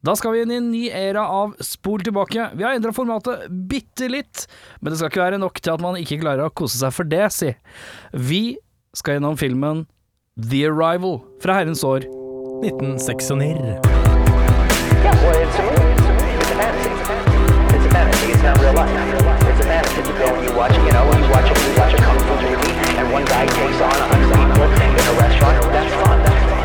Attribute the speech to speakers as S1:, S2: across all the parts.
S1: Da skal vi inn i en ny æra av Spol tilbake. Vi har endra formatet bitte litt, men det skal ikke være nok til at man ikke klarer å kose seg for det, si. Vi skal gjennom filmen The Arrival fra herrens år
S2: 1969.
S3: Yeah, well, it's a movie. It's a movie. It's a fantasy. It's a fantasy. It's not real life. It's a fantasy. You go and you watch, you know, you watch a, you watch a kung fu movie, and one guy takes on a hundred people in a restaurant. That's fun. That's fun.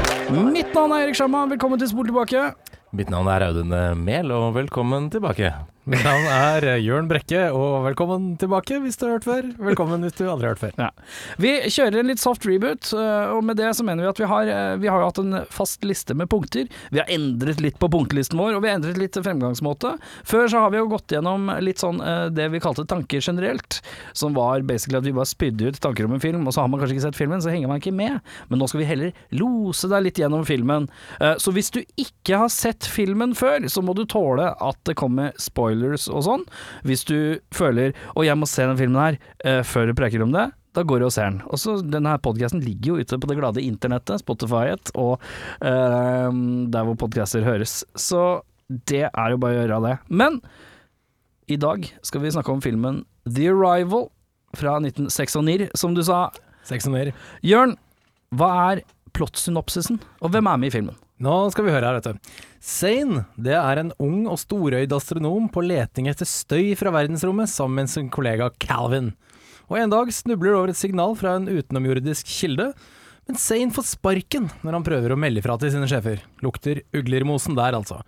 S1: Mitt navn er Erik Sjarma, velkommen til Spol tilbake.
S2: Mitt navn er Audun Mehl, og velkommen tilbake. Mitt navn er Jørn Brekke, og velkommen tilbake hvis du har hørt før. Velkommen hvis du aldri har hørt før.
S1: Ja. Vi kjører en litt soft reboot, øh, og med det så mener vi at vi har, øh, vi har jo hatt en fast liste med punkter. Vi har endret litt på punktlisten vår, og vi har endret litt fremgangsmåte. Før så har vi jo gått gjennom litt sånn øh, det vi kalte tanker generelt, som var basically at vi bare spydde ut tanker om en film, og så har man kanskje ikke sett filmen, så henger man ikke med. Men nå skal vi heller lose deg litt gjennom filmen. Eh, Så hvis du ikke har sett filmen før, så må du tåle at det kommer spoilers og sånn. Hvis du føler 'Å, jeg må se den filmen her' eh, før du preker om det. Da går du og ser den. Og så Denne podkasten ligger jo ute på det glade internettet, Spotify-et, og eh, der hvor podkaster høres. Så det er jo bare å gjøre det. Men i dag skal vi snakke om filmen The Arrival fra 1996, som du sa.
S2: 69.
S1: Jørn, hva er plottsynopsisen, og hvem er med i filmen?
S2: Nå skal vi høre her, vet du. Zane det er en ung og storøyd astronom på leting etter støy fra verdensrommet sammen med sin kollega Calvin. Og En dag snubler det over et signal fra en utenomjordisk kilde, men Zane får sparken når han prøver å melde fra til sine sjefer. Lukter ugler i mosen der, altså.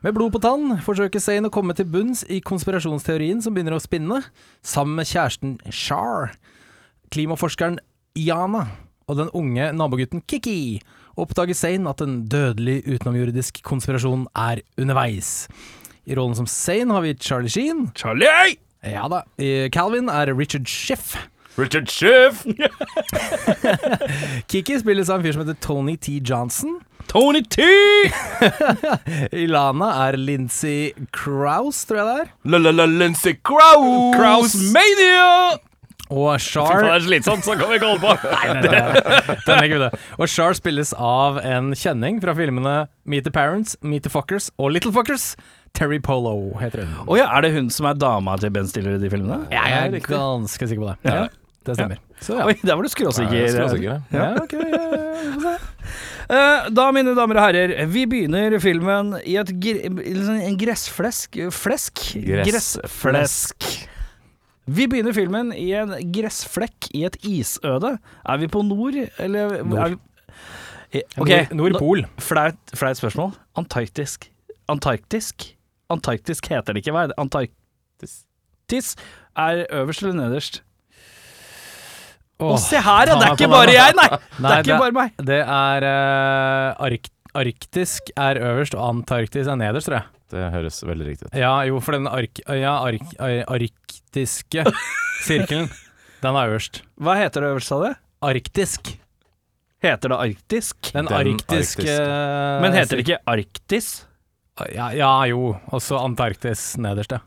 S2: Med blod på tann forsøker Zane å komme til bunns i konspirasjonsteorien som begynner å spinne, sammen med kjæresten Shar klimaforskeren Iana og den unge nabogutten Kiki oppdager Zane at en dødelig utenomjordisk konspirasjon er underveis. I rollen som Zane har vi Charlie Sheen.
S1: Charlie!
S2: Ja da. I Calvin er Richard Schiff.
S1: Richard Schiff!
S2: Kiki spilles av en fyr som heter Tony T. Johnson.
S1: Tony T!
S2: Ilana er Lincy Kraus, tror jeg det er.
S1: La-la-la Lincy Kraus! Krausmania!
S2: Og Char
S1: er slitsomt, så kan vi ikke holde på. Nei,
S2: Nei, nei, nei. Den legger vi det. Og Char spilles av en kjenning fra filmene Meet the Parents, Meet the Fuckers og Little Fuckers. Terry Polo heter hun.
S1: Å ja, er det hun som er dama til Ben Stiller i de filmene?
S2: Jeg er ganske sikker på det. Ja, det stemmer. Så ja.
S1: Oi, der var du skråsikker.
S2: ja ok, ja, ja, ja.
S1: Eh, Da, mine damer og herrer, vi begynner filmen i et gr liksom en gressflesk Flesk? Gressflesk. Vi begynner filmen i en gressflekk i et isøde. Er vi på nord, eller
S2: Nord.
S1: Er vi, Eh,
S2: Nord-
S1: ok,
S2: Nordpol.
S1: nå- Flaut flaut spørsmål. Antarktisk. Antarktisk? Antarktisk heter det ikke, hva er det? Antarktis er øverst eller nederst? Å, se her, ja! Det er ikke bare jeg, nei! Det
S2: Nei,
S1: er ikke bare meg.
S2: Det er eh, ark Arktisk er øverst, og Antarktis er nederst, tror jeg.
S4: Det høres veldig riktig ut.
S2: Ja, jo, for den ark ja, ark ar- arktiske sirkelen, den er øverst.
S1: Hva heter det øverst, sa du?
S2: Arktisk.
S1: Heter det arktisk?
S2: Den,
S4: Den
S2: arktiske
S1: Men heter det ikke Arktis?
S2: Ja, ja jo, og så Antarktis nederst, ja.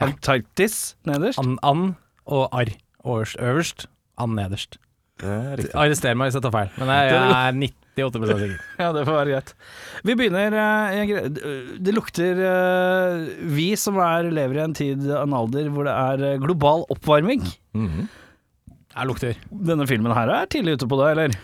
S1: Antarktis nederst?
S2: An, an og arr øverst, øverst. An nederst.
S4: Det er riktig.
S2: Arrester meg hvis jeg tar feil, men jeg, jeg er 98 sikker.
S1: Ja, det får være greit. Vi begynner eh, i en gre- d- Det lukter eh, Vi som er, lever i en tid, en alder, hvor det er eh, global oppvarming.
S2: Jeg lukter.
S1: Denne filmen her er tidlig ute på det, eller?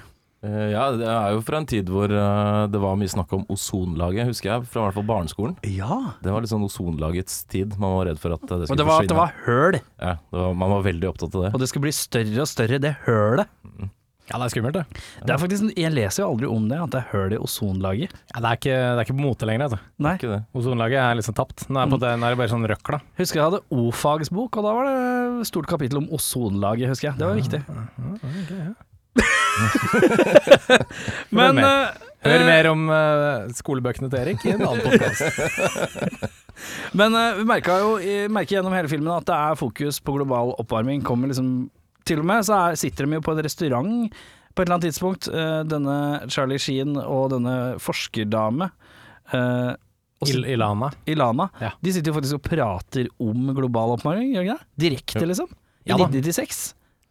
S4: Eh, ja, det er jo fra en tid hvor eh, det var mye snakk om ozonlaget, husker jeg. Fra i hvert fall barneskolen.
S1: Ja.
S4: Det var litt sånn ozonlagets tid. Man var redd for at eh, det
S1: Og
S4: skulle
S1: det var at det
S4: forsvinne.
S1: var høl,
S4: Ja, det var, man var veldig opptatt av det.
S1: og det skulle bli større og større, det hølet.
S2: Ja, det er skummelt, det.
S1: Det er faktisk, Jeg leser jo aldri om det, at det er høl i ozonlaget.
S2: Ja, det, er ikke, det er ikke på mote lenger, altså.
S1: Nei.
S4: Ikke det.
S2: Ozonlaget er liksom tapt. Nå er, på det, nå er det bare sånn røkla.
S1: Husker jeg hadde O-fagsbok, og da var det stort kapittel om ozonlaget, husker jeg. Det var viktig. Men
S2: mer.
S1: eh,
S2: Hør
S1: eh,
S2: mer om eh, skolebøkene til Erik i en annen podkast.
S1: Men eh, vi merka jo eh, merker gjennom hele filmen at det er fokus på global oppvarming. Kommer liksom Til og med så er, sitter de jo på en restaurant på et eller annet tidspunkt, eh, denne Charlie Sheen og denne forskerdame. eh, og sit-
S2: Ilana.
S1: Ilana.
S2: Ja.
S1: De sitter jo faktisk og prater om global oppvarming, gjør de ikke det? Direkte,
S4: Jo.
S1: liksom. I
S2: Ja da.
S1: 1996.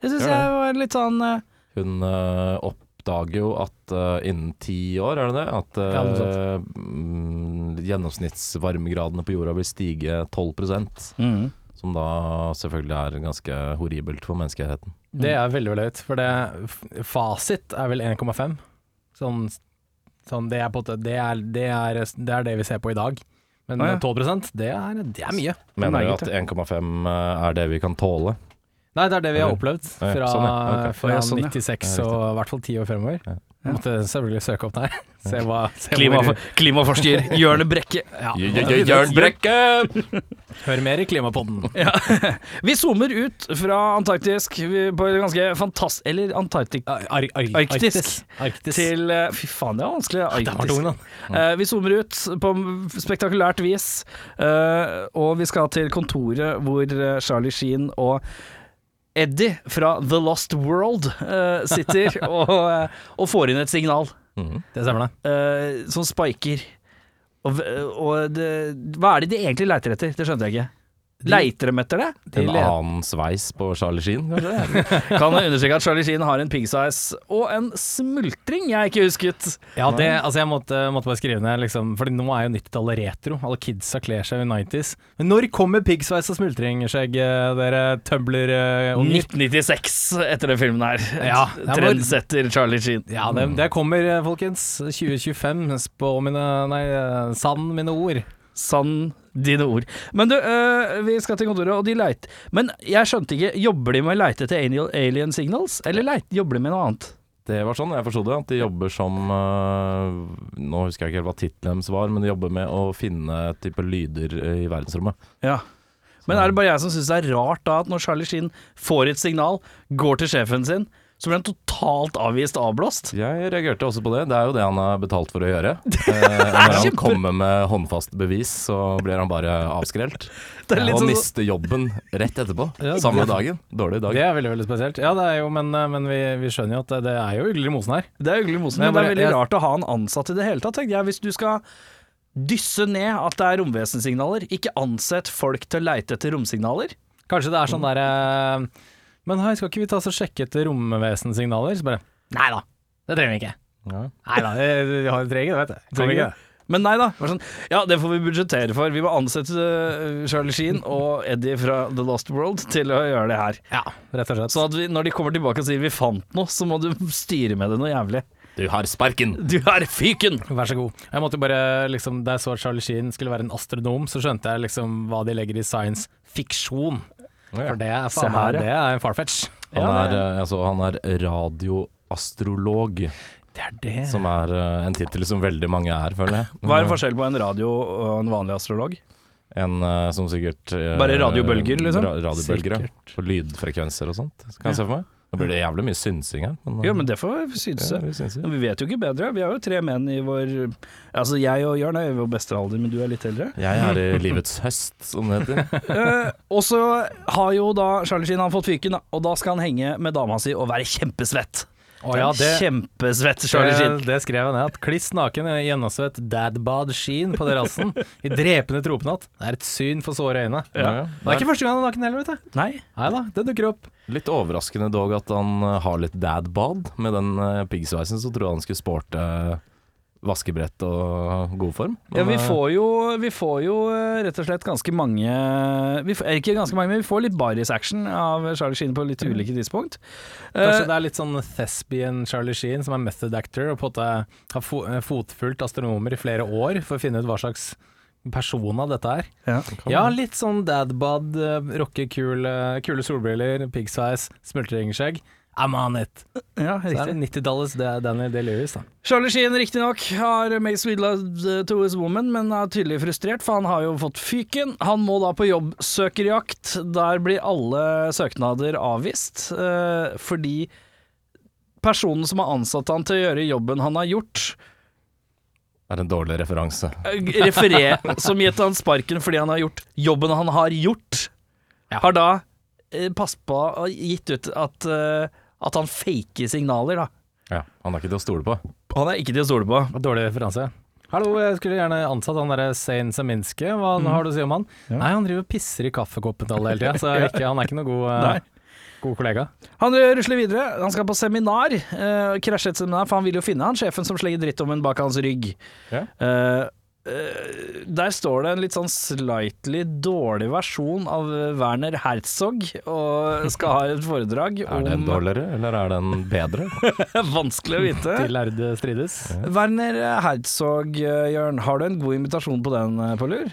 S1: Det syns
S4: Gjør det.
S1: jeg var litt sånn eh,
S4: Hun eh, opp, oppdager jo at eh, innen ti år, er det det, at eh,
S2: Ja, noe
S4: mm, gjennomsnittsvarmegradene på jorda vil stige 12
S1: Mm.
S4: som da selvfølgelig er ganske horribelt for menneskeheten.
S2: Det er veldig veldig høyt, for det, f- fasit er vel 1,5. Sånn, sånn det, er på, en måte- det, er, det, er, det er det vi ser på i dag. Men
S1: Ah, ja.
S2: 12 det er, det
S1: mm.
S2: er mye.
S4: Mener du
S1: Meget,
S4: at 1,5 eh, er det vi kan tåle?
S2: Nei, det er det vi har
S4: Eller?
S2: opplevd
S4: Ja, ja,
S2: fra,
S4: sånn, ja. Ok.
S2: fra
S1: Ja, sånn, ja.
S2: 96
S4: Ja, riktig.
S2: og i hvert fall 10 år fremover.
S4: Ja.
S1: Ja.
S2: Måtte selvfølgelig søke opp der. Se hva se
S1: Klimafor
S2: hvor,
S1: klimaforsker Jørne Brekke.
S2: ja.
S4: Jørn Brekke!
S2: Hør mer i Klimapodden.
S1: Vi zoomer ut fra antarktisk vi- på et ganske fantastisk Eller Antarktik
S2: Ar ar ar-
S1: Arktisk.
S2: Arktis. Arktis.
S1: til eh, Fy faen, det er vanskelig.
S2: Det var
S1: Arktisk.
S2: tung, da.
S1: Eh, vi zoomer ut på spektakulært vis, eh, og vi skal til kontoret hvor eh, Charlie Sheen og Eddie fra The Lost World eh, sitter og, eh, og får inn et signal
S4: Mm.
S2: Det stemmer, det.
S1: eh, som spiker. Og, v- eh, og det, hva er det de egentlig leiter etter? Det skjønte jeg ikke. Leiter de etter det?
S2: De
S4: En
S2: le-
S4: annen sveis på Charlie Sheen, kanskje?
S1: Kan jeg understreke at Charlie Sheen har en pigsize og en smultring jeg ikke husket.
S2: Ja, det, altså jeg måtte, måtte bare skrive ned, liksom, Fordi nå er jo 90-tallet retro. Alle kidsa kler seg i 90s. Men når kommer piggsveis og smultringskjegg, eh, dere tumbler-unger?
S1: 1996 etter den filmen her.
S2: Ja, det var-
S1: Trendsetter Charlie Sheen.
S2: Ja, det, det kommer, eh, folkens. 2025. Spå mine Nei, eh, sann mine ord.
S1: Sann dine ord. Men du, øh, vi skal til kontoret, og de leiter Men jeg skjønte ikke, jobber de med å leite etter alien- alien signals, eller leit, jobber de med noe annet?
S4: Det var sånn jeg forsto det, at de jobber som eh, Nå husker jeg ikke helt hva tittelen deres var, men de jobber med å finne type lyder eh, i verdensrommet.
S1: Ja. Men er det bare jeg som syns det er rart da at når Charlie Sheen får et signal, går til sjefen sin, så blir han totalt avvist og avblåst?
S4: Jeg reagerte også på det. Det er jo det han er betalt for å gjøre. Eh, når han
S1: kjempe-
S4: kommer med håndfast bevis, så blir han bare avskrelt.
S1: Det er litt
S4: og
S1: sånn-
S4: mister jobben rett etterpå.
S2: Ja,
S4: samme
S2: det-
S4: dagen. Dårlig dag.
S2: Det er veldig veldig spesielt. Ja, det er jo, men, eh, men vi, vi skjønner jo at det, det er jo ugler i mosen her.
S1: Det er hyggelig, Mosen, men,
S2: Men
S1: det er
S2: bare-
S1: veldig
S2: jeg-
S1: rart å ha en ansatt i det hele tatt, tenkte jeg. Hvis du skal dysse ned at det er romvesensignaler, ikke ansett folk til å leite etter romsignaler.
S2: Kanskje det er sånn derre Men hei, skal ikke vi ta oss og sjekke etter romvesensignaler? Så bare Nei da, det trenger vi ikke.
S4: Ja.
S2: Nei da, vi har trenger det, vet du. Kan vi ikke det?
S1: Men nei da. Var sånn, ja, det får vi budsjettere for. Vi må ansette øh, Charlie Sheen og Eddie fra The Lost World til å gjøre det her.
S2: Ja, rett og slett.
S1: Sånn at vi, når de kommer tilbake og sier vi fant noe, så må du styre med det noe jævlig.
S4: Du har sparken!
S1: Du er fyken!
S2: Vær så god. Jeg måtte jo bare, liksom, Da jeg så at Charlie Sheen skulle være en astronom, så skjønte jeg liksom hva de legger i science fiksjon. For det er, faen,
S1: Se her, ja.
S2: det er en farfetch.
S4: Han er, eh, altså, han er radioastrolog,
S2: Det er det.
S4: som er eh, en tittel som veldig mange er, føler jeg.
S1: Hva er forskjellen på en radio og en vanlig astrolog?
S4: En eh, som sikkert eh,
S1: Bare radiobølger, liksom?
S4: Ra radiobølger, ja. Og lydfrekvenser og sånt, kan jeg se for meg. Nå blir det jævlig mye synsing her. Men, eh,
S1: Jo, men det får synes.
S4: ja, vi synser.
S1: Men vi vet jo ikke bedre. Vi er jo tre menn i vår Altså, jeg og Jørn er i vår beste alder, men du er litt eldre.
S4: Jeg er i livets høst, som det heter.
S1: Eh, og så har jo da Charlie Sheen han fått fyken, da, og da skal han henge med dama si og være kjempesvett.
S2: Å ja, det,
S1: Kjempesvett Charlie
S2: det,
S1: Sheen.
S2: det skrev jeg ned. At kliss naken, gjennomsvett dadbad Sheen på terrassen i drepende tropenatt. Det er et syn for såre øyne.
S4: Ja, ja.
S2: Det er ikke første gang han er naken heller, vet du.
S1: Nei.
S2: Nei da, det dukker opp.
S4: Litt overraskende dog at han eh, har litt dad-bad med den eh, piggsveisen. Så trodde jeg han skulle sporte eh, vaskebrett og god form.
S1: Ja,
S4: Men,
S1: vi
S4: eh,
S1: får jo, vi får jo eh, rett og slett ganske mange vi får, Ikke ganske mange, men vi får litt baris-action av Charlie Sheen på litt ulike tidspunkt. Eh,
S2: Kanskje det er litt sånn thespian Charlie Sheen, som er method actor, og på en måte har fo eh, fotfulgt astronomer i flere år for å finne ut hva slags persona dette er.
S1: ja.
S2: Ja, litt sånn dadbad, eh, rockekul, eh, kule solbriller, piggsveis, smultringskjegg. I'm on it!
S1: ja,
S2: Så er det
S1: riktig.
S2: 90-tallets Da- Daniel Day-Lewis, da.
S1: Charlie Sheen riktignok har made sweet love to his woman, men er tydelig frustrert, for han har jo fått fyken. Han må da på jobbsøkerjakt. Der blir alle søknader avvist, eh, fordi personen som har ansatt han til å gjøre jobben han har gjort,
S4: Er en dårlig referanse.
S1: eh, referer, som gitt han sparken fordi han har gjort jobben han har gjort, har da eh, passet på og gitt ut at, eh, at han faker signaler, da.
S4: Ja, han er ikke til å stole på.
S1: Han er ikke til å stole på.
S2: Og Dårlig referanse. Hallo, jeg skulle gjerne ansatt han derre Zain Saminske, hva har du å si om han? Nei, han driver og pisser i kaffekoppen til alle hele tida, så ikke, han er ikke noe god, eh, god kollega.
S1: Han rusler videre, han skal på seminar, eh, krasjer et seminar, for han vil jo finne han sjefen som slenger dritt om en bak hans rygg.
S2: Ja.
S1: Eh, eh, der står det en litt sånn slightly dårlig versjon av Werner Herzog, og skal ha et foredrag
S4: Er
S1: om
S4: den dårligere, eller er den bedre?
S1: Vanskelig å vite.
S2: De lærde strides.
S1: Werner Herzog, eh, Jørn, har du en god invitasjon på den eh, på lur?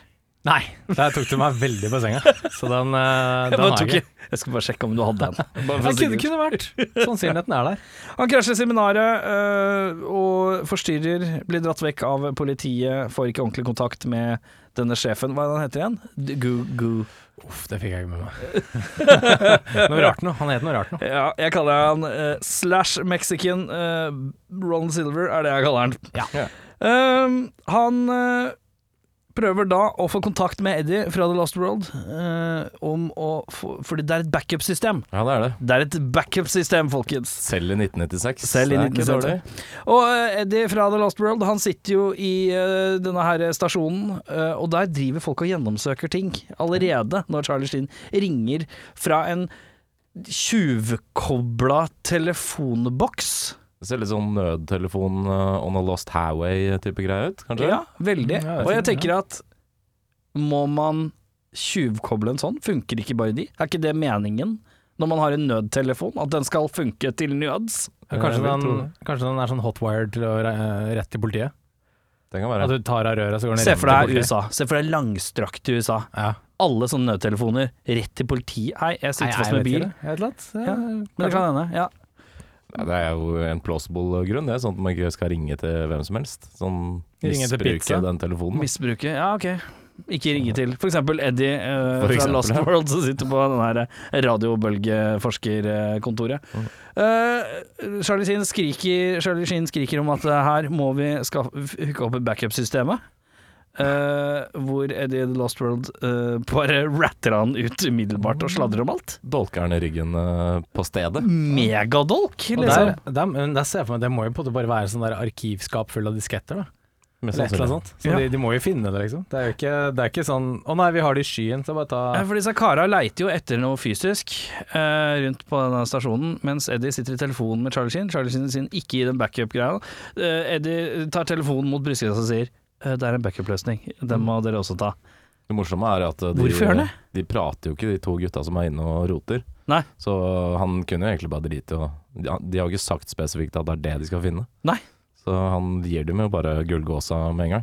S2: Nei, der tok du meg veldig på senga. Så den, eh, den
S1: bare
S2: har
S1: tok-
S2: jeg ikke.
S1: jeg skulle bare sjekke om du hadde den. Bare for
S2: Det kunne,
S1: sikkerhet.
S2: kunne vært. Sannsynligheten er der.
S1: Han krasjer seminaret øh, og forstyrrer, blir dratt vekk av politiet, får ikke ordentlig kontakt med denne sjefen. Hva er det han heter igjen? D- Gu... gu.
S2: Uff, det fikk jeg ikke med meg. noe rart noe. Han het noe rart noe.
S1: Ja, jeg kaller han øh, slash Mexican øh, Ron Silver, er det jeg kaller han.
S2: Ja.
S1: Ehm, han øh, prøver da å få kontakt med Eddie fra The Lost World, øh, om å få, fordi det er et backup-system.
S4: Ja, det er det.
S1: Det er et backup-system, folkens.
S4: Selv i 1996.
S1: Selv i
S4: Det er ikke
S1: 1996.
S4: dårlig.
S1: Og eh, Eddie fra The Lost World, han sitter jo i eh, denne her stasjonen, eh, og der driver folk og gjennomsøker ting allerede når Charlie Sheen ringer fra en tjuvkobla telefonboks.
S4: Ser litt sånn nødtelefon uh, on a lost highway-type greie ut, kanskje?
S1: Ja, veldig.
S2: Ja, jeg
S1: Og jeg
S2: tror det,
S1: tenker at må man tjuvkoble en sånn? Funker ikke bare de? Er ikke det meningen? Når man har en nødtelefon, at den skal funke til nøds.
S2: Ja,
S4: Jeg
S1: Eh,
S2: Kanskje
S4: vil
S2: den,
S4: tro det.
S2: kanskje den er sånn hotwired til å re- eh, rett til politiet?
S4: Det kan
S2: At
S4: være.
S2: du tar av røret, så går den
S1: Se
S2: rett til
S1: for deg
S2: politiet?
S1: USA. Se for deg langstrakte USA.
S2: Ja.
S1: alle sånne nødtelefoner rett til politiet. Hei, jeg sitter fast med
S2: vet
S1: bil.
S2: ikke det. Jeg vet ikke.
S1: Ja, Men
S2: Ja,
S1: det kan hende, ja.
S4: Nei, Det er jo en plausible grunn, det. er Sånn at man ikke skal ringe til hvem som helst. Sånn
S2: Ringe til pizza.
S4: misbruke den telefonen.
S1: Misbruke, ja ok. Ikke ringe til. For eksempel Eddie eh,
S4: For
S1: fra
S4: eksempel,
S1: Lost
S4: ja.
S1: World som sitter på den her eh, radiobølgeforskerkontoret.
S4: Mm.
S1: Eh, Charlie Sheen skriker, Charlie Sheen skriker om at eh, her må vi skaffe, hooke opp backup-systemet. Eh, hvor Eddie the Lost World eh, bare ratter han ut umiddelbart og sladrer om alt.
S4: Dolker den i ryggen eh, på
S1: Mm.
S4: stedet.
S1: Megadolk,
S2: Og
S1: liksom.
S2: der, der, men der ser jeg for meg, det må jo på en måte bare være sånn der arkivskap full av disketter, da.
S4: Mest
S2: Eller et eller
S4: sannsynlig.
S2: annet sånt. Så
S1: sånn Ja.
S2: de, de må jo finne det, liksom. Det er jo ikke, det er ikke sånn Å nei, vi har det i skyen, så bare ta
S1: Ja, for disse kara leiter jo etter noe fysisk eh, rundt på denne stasjonen, mens Eddie sitter i telefonen med Charlie Sheen. Charlie Sheen sin ikke i den backup-greia. Eh, Eddie tar telefonen mot brystkassa og sier «Eh, det er en backup-løsning, den må dere også ta.
S4: Det morsomme er at eh, de,
S1: Hvorfor gjør han det?
S4: de prater jo ikke, de to gutta som er inne og roter.
S1: Nei.
S4: Så han kunne jo egentlig bare drite i å De de har jo ikke sagt spesifikt at det er det de skal finne.
S1: Nei.
S4: Så han gir dem jo bare gullgåsa med en gang.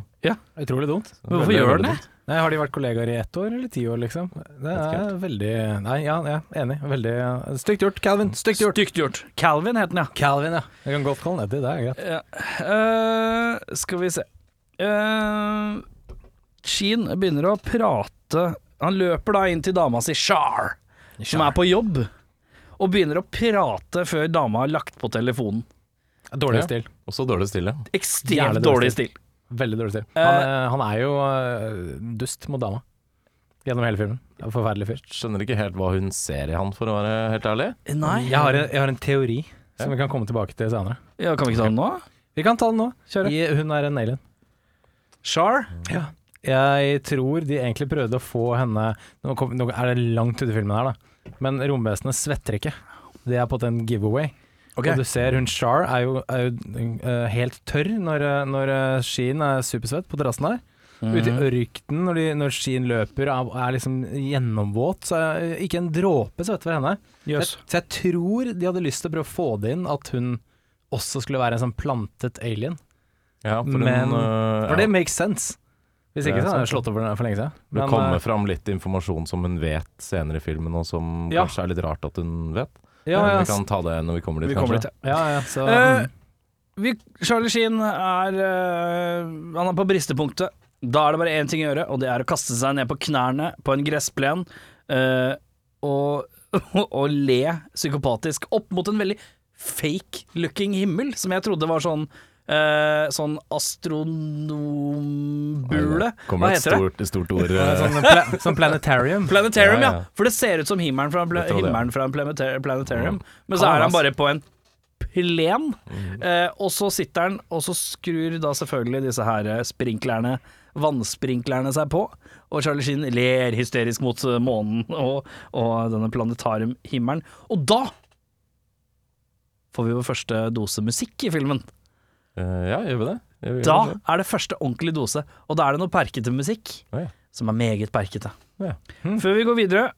S2: Utrolig dumt.
S4: Så
S1: Hvorfor
S4: veldig,
S1: gjør han
S4: veldig
S1: det?
S4: dumt.
S2: Nei, har de vært kollegaer i ett år eller ti år, liksom? Det
S4: ikke
S2: er veldig Nei, ja, jeg er enig. Veldig Stygt gjort, Calvin. Stygt gjort.
S1: Stygt gjort. Calvin het den, ja.
S2: Calvin, ja. Jeg kan godt kalle han Eddie, det er greit.
S1: Ja. Eh, skal vi se Eh, Sheen begynner å prate Han løper da inn til dama si Char, som er på jobb Og begynner å prate før dama har lagt på telefonen
S2: Dårlig
S4: Ja.
S2: stil.
S4: Også dårlig stille.
S1: Ekstremt
S2: Jævlig dårlig
S1: dårlig stil
S2: Veldig dårlig stil. Han, er- han er jo eh, dust mot dama. Gjennom hele filmen. En Forferdelig fyr.
S4: Skjønner ikke helt hva hun ser i han, for å være helt ærlig.
S1: Nei,
S2: Jeg har, en, jeg har en teori som vi kan komme tilbake til senere.
S1: ja, kan vi ikke ta den nå?
S2: Vi kan ta den nå.
S1: Kjøre.
S2: I, hun er en alien.
S1: Char?
S2: Jeg tror de egentlig prøvde å få henne Nå, kom, nå er det langt ute i filmen her, da. Men romvesenet svetter ikke. Det er på en giveaway.
S1: Ok.
S2: Og du ser hun Char er jo, er jo eh, helt tørr når, eh, når eh, Sheen er supersvett på terrassen der.
S1: Mm.
S2: Ute i
S1: Mhm.
S2: ørkenen når, de, når Sheen løper og er, er liksom gjennomvåt, så er det ikke en dråpe svette ved henne.
S1: Jøss.
S2: Så, jeg, så jeg tror de hadde lyst til å prøve å få det inn at hun også skulle være en sånn plantet alien.
S4: Ja, for
S2: Men-
S4: hun øh,
S2: For
S4: ja,
S2: det makes sense. Hvis
S4: Det
S2: ikke
S4: er
S2: så hadde
S4: sant,
S2: jeg slått over den for lenge siden.
S4: det
S2: Men, eh,
S4: kommer fram litt informasjon som hun vet senere i filmen, og som
S2: Ja.
S4: kanskje er litt rart at hun vet.
S2: ja,
S4: Men
S2: ja,
S4: vi kan ta det når vi kommer dit.
S1: Vi kommer
S4: kanskje.
S1: litt ja.
S2: ja, ja, så, mm,
S1: Eh, vi, Charlie Sheen er eh, Han er på bristepunktet. Da er det bare én ting å gjøre, og det er å kaste seg ned på knærne på en gressplen eh, og, og le psykopatisk opp mot en veldig fake-looking himmel, som jeg trodde var sånn eh, Sånn astronombule. Hva
S4: Kommer et
S1: heter det?
S4: stort, stort ord.
S2: eh,
S4: øh,
S2: sånn, pla sånn planetarium.
S1: Planetarium, ja,
S4: Ja, ja.
S1: For det ser ut som himmelen fra, en pla
S4: Jeg tror det, ja.
S1: himmelen fra en planeta- planetarium,
S4: Mm.
S1: men så
S2: Ah,
S1: er han
S2: nice.
S1: bare på en plen. Eh, og så sitter han, og så skrur da selvfølgelig disse her eh, sprinklerne vannsprinklerne seg på, og Charlie Sheen ler hysterisk mot eh, månen og, og denne planetariumhimmelen. Og da får vi vår første dose musikk i filmen.
S4: Eh, ja, gjør vi det? Gjør vi
S1: Da
S4: det?
S1: er det første ordentlige dose, og da er det noe perkete musikk
S4: Oi.
S1: som er meget perkete.
S4: Ja. Hm.
S1: Før vi går videre,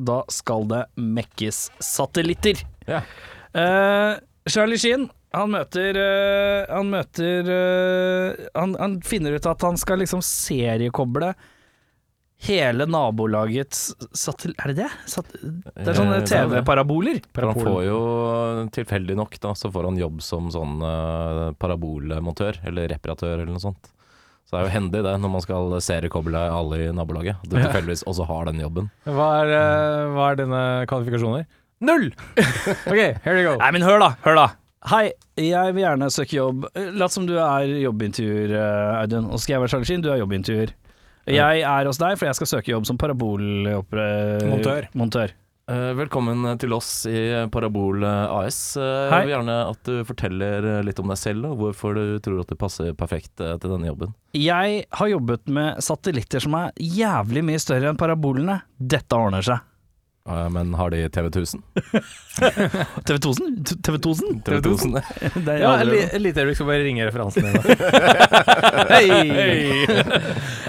S1: da skal det mekkes satellitter.
S4: Ja.
S1: Eh, Charlie Sheen, han møter eh, Han møter eh, han, han finner ut at han skal liksom seriekoble hele nabolagets satel... Er det det? Sat det er sånn sånne
S4: Eh, det er det.
S1: TV-paraboler.
S4: For han får jo tilfeldig nok da, så får han jobb som sånn eh, parabolmontør, eller reparatør eller noe sånt. Så det er jo hendig det, når man skal seriekoble alle i nabolaget. At du tilfeldigvis også har den jobben.
S2: Hva er, eh, hva er dine kvalifikasjoner? Null! Ok, here we go.
S1: Nei, men hør da, hør da. Hei, jeg vil gjerne søke jobb. Lat som du er jobbintervjuer, eh, Audun. Og så skal jeg være Charlie Sheen, du er jobbintervjuer. Jeg er hos deg, for jeg skal søke jobb som
S2: Montør.
S1: parabolmontør. Montør.
S4: Eh, Velkommen til oss i Parabol eh, AS. Eh,
S1: Hei.
S4: Jeg vil gjerne at du forteller eh, litt om deg selv, og hvorfor du tror at du passer perfekt eh, til denne jobben.
S1: Jeg har jobbet med satellitter som er jævlig mye større enn parabolene. Dette ordner seg.
S4: Eh, Men har de TV 1000?
S1: TV 1000? TV 1000?
S4: TV 1000?
S1: Det er
S2: Ja,
S1: aldri-
S2: et li- et lite øyeblikk skal bare ringe referansen din.
S1: Hei!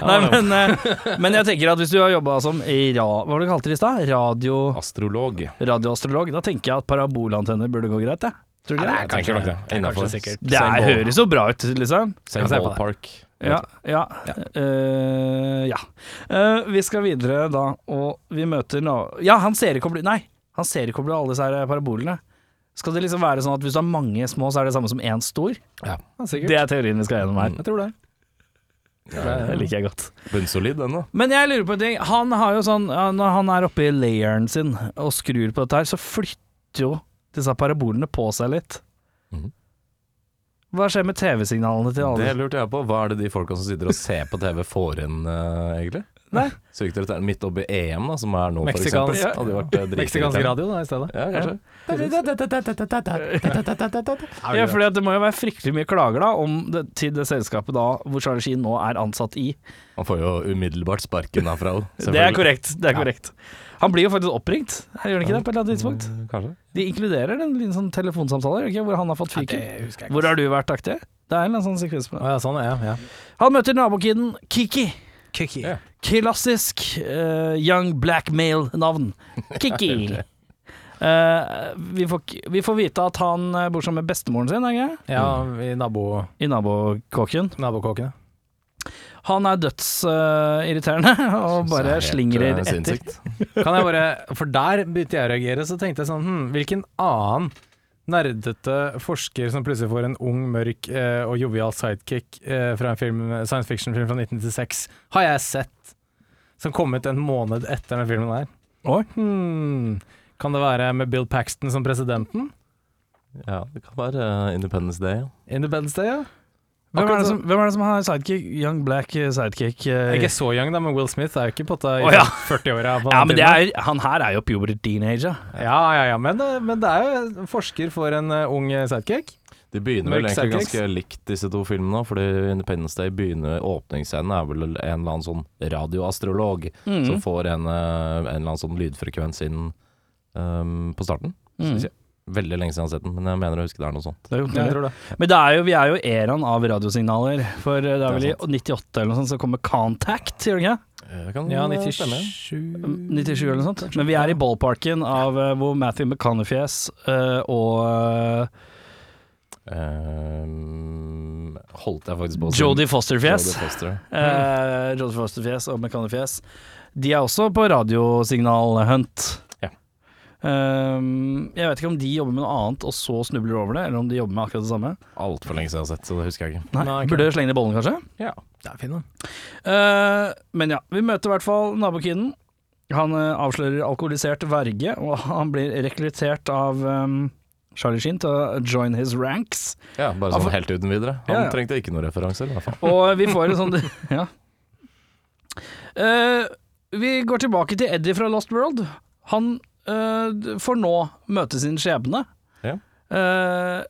S1: Nei, men, eh, men jeg tenker at hvis du har jobba som i ra... Hva var det du kalte det i stad? Radio,
S4: Astrolog.
S1: radioastrolog? Da tenker jeg at parabolantenner burde gå greit, jeg. Tror du ikke det?
S4: kanskje nok det. Innenfor.
S1: Det er, høres jo bra ut, liksom.
S4: Same
S2: Jeg ser på det.
S4: ballpark.
S1: Ja. Ja. Eh, ja. Eh, vi skal videre da, og vi møter nå Ja, han seriekobler Nei, han seriekobler alle disse her parabolene. Skal det liksom være sånn at hvis du har mange små, så er det samme som én stor?
S4: Ja.
S2: Ja, sikkert.
S1: Det er teorien vi skal gjennom her.
S2: Jeg tror det.
S1: Det liker jeg godt.
S4: Bunnsolid, den, da.
S1: Men jeg lurer på en ting. Han har jo sånn ja, Når han er oppe i layeren sin og skrur på dette her, så flytter jo disse parabolene på seg litt.
S4: Mhm.
S1: Hva skjer med TV-signalene til alle?
S4: Det lurte jeg på. Hva er det de folka som sitter og ser på TV får inn, eh, egentlig?
S1: Nei.
S4: Sykt irriterende. Midt oppi EM, da, som er nå, for
S2: Meksikansk-
S4: eksempel.
S2: ja.
S4: Hadde vært eh,
S2: Meksikansk
S4: dritirriterende.
S2: radio da, i stedet.
S4: Ja, kanskje.
S1: Ja, fordi at det må jo være fryktelig mye klager da om det, til det selskapet da hvor Charlie Sheen nå er ansatt i.
S4: Han får jo umiddelbart sparken herfra òg.
S1: Det er korrekt. det er korrekt Han blir jo faktisk oppringt, gjør han ikke det? på et eller annet tidspunkt
S4: mm, Kanskje.
S1: De inkluderer en liten sånn telefonsamtale gjør de ikke, hvor han har fått fyken.
S2: husker
S1: Hvor har du vært aktig? Det er en eller annen sånn sekvens på det.
S2: Ja, sånn, ja. ja.
S1: Han møter nabokiden Kiki.
S2: Kiki.
S4: Ja.
S1: Klassisk eh, young black male-navn. Kiki. Eh, vi, får, k- vi får vite at han eh, bor sammen med bestemoren sin, er det ikke?
S2: Ja, i nabo,
S1: i nabokåken.
S2: nabokåkene.
S1: Han er dødsirriterende og bare
S4: Så helt, eh,
S1: slingrer etter.
S4: sinnssykt.
S2: Kan jeg bare, for der begynte jeg å reagere, så tenkte jeg sånn, hm, hvilken annen nerdete forsker som plutselig får en ung, mørk eh, og jovial sidekick eh, fra en film, science fiction-film fra 1996, har jeg sett, som kom ut en måned etter den filmen der.
S1: Oi.
S2: Hmm, kan det være med Bill Paxton som presidenten?
S4: Ja, det kan være eh, Independence Day. Ja.
S2: Independence Day, ja.
S1: Hvem er,
S2: Akkurat
S1: det
S2: så-
S1: som, hvem er det som har sidekick? Young Black eh, sidekick? eh,
S2: Ikke så young, da, men Will Smith er jo ikke på at det er i
S1: Å, ja.
S2: 40-åra. på
S1: ja,
S2: den
S1: men det
S2: tiden.
S1: er, han her er jo puber teenager.
S2: ja, ja, ja, men, det- men det er jo en forsker for en eh, ung eh, sidekick.
S4: De begynner vel
S2: Mørk
S4: egentlig
S2: sidekick.
S4: ganske likt disse to filmene, fordi Independence Day begynner Åpningsscenen er vel en eller annen sånn radioastrolog
S1: Mm,
S4: som får en, eh, en eller annen sånn lydfrekvens inn ehm, på starten. Skal vi se. Veldig lenge siden jeg har sett den, men jeg mener å huske det er noe sånt.
S1: mm. Det er jo
S2: Jeg tror det.
S1: Men det er jo, vi er jo eraen av radiosignaler. For eh, det er vel
S4: Det
S1: i
S4: er
S1: 98 eller noe sånt så kommer Contact, gjør det ikke?
S4: Jeg kan
S2: Ja,
S4: eh,
S2: 97
S1: Mm, 97 eller noe sånt. Men vi er i ballparken av eh, hvor Matthew McConaughey og eh,
S4: Ehm, holdt jeg faktisk på å si.
S1: Jodie Foster-fjes.
S4: Jodie Foster.
S1: Eh, Roddy Foster-fjes og McCann-fjes. De er også på radiosignal-hunt.
S4: Ja.
S1: Ehm, jeg vet ikke om de jobber med noe annet og så snubler over det, eller om de jobber med akkurat det samme.
S4: Altfor lenge siden jeg har sett, så det husker jeg ikke.
S1: Nei,
S2: Nei, ok.
S1: Burde slenge det i bollen, kanskje.
S4: Ja.
S2: Det er fin, da.
S1: Eh, men ja, vi møter i hvert fall nabokiden. Han eh, avslører alkoholisert verge, og han blir rekruttert av ehm, Charlie Sheen til å join his ranks.
S4: ja, bare
S1: Ja, for-
S4: sånn helt uten videre. Han
S1: Ja, ja.
S4: trengte ikke noen referanser, i hvert fall.
S1: Og vi får en sånn Ja. Eh, vi går tilbake til Eddie fra Lost World. Han eh, d- får nå møte sin skjebne.
S4: Ja.
S1: Eh,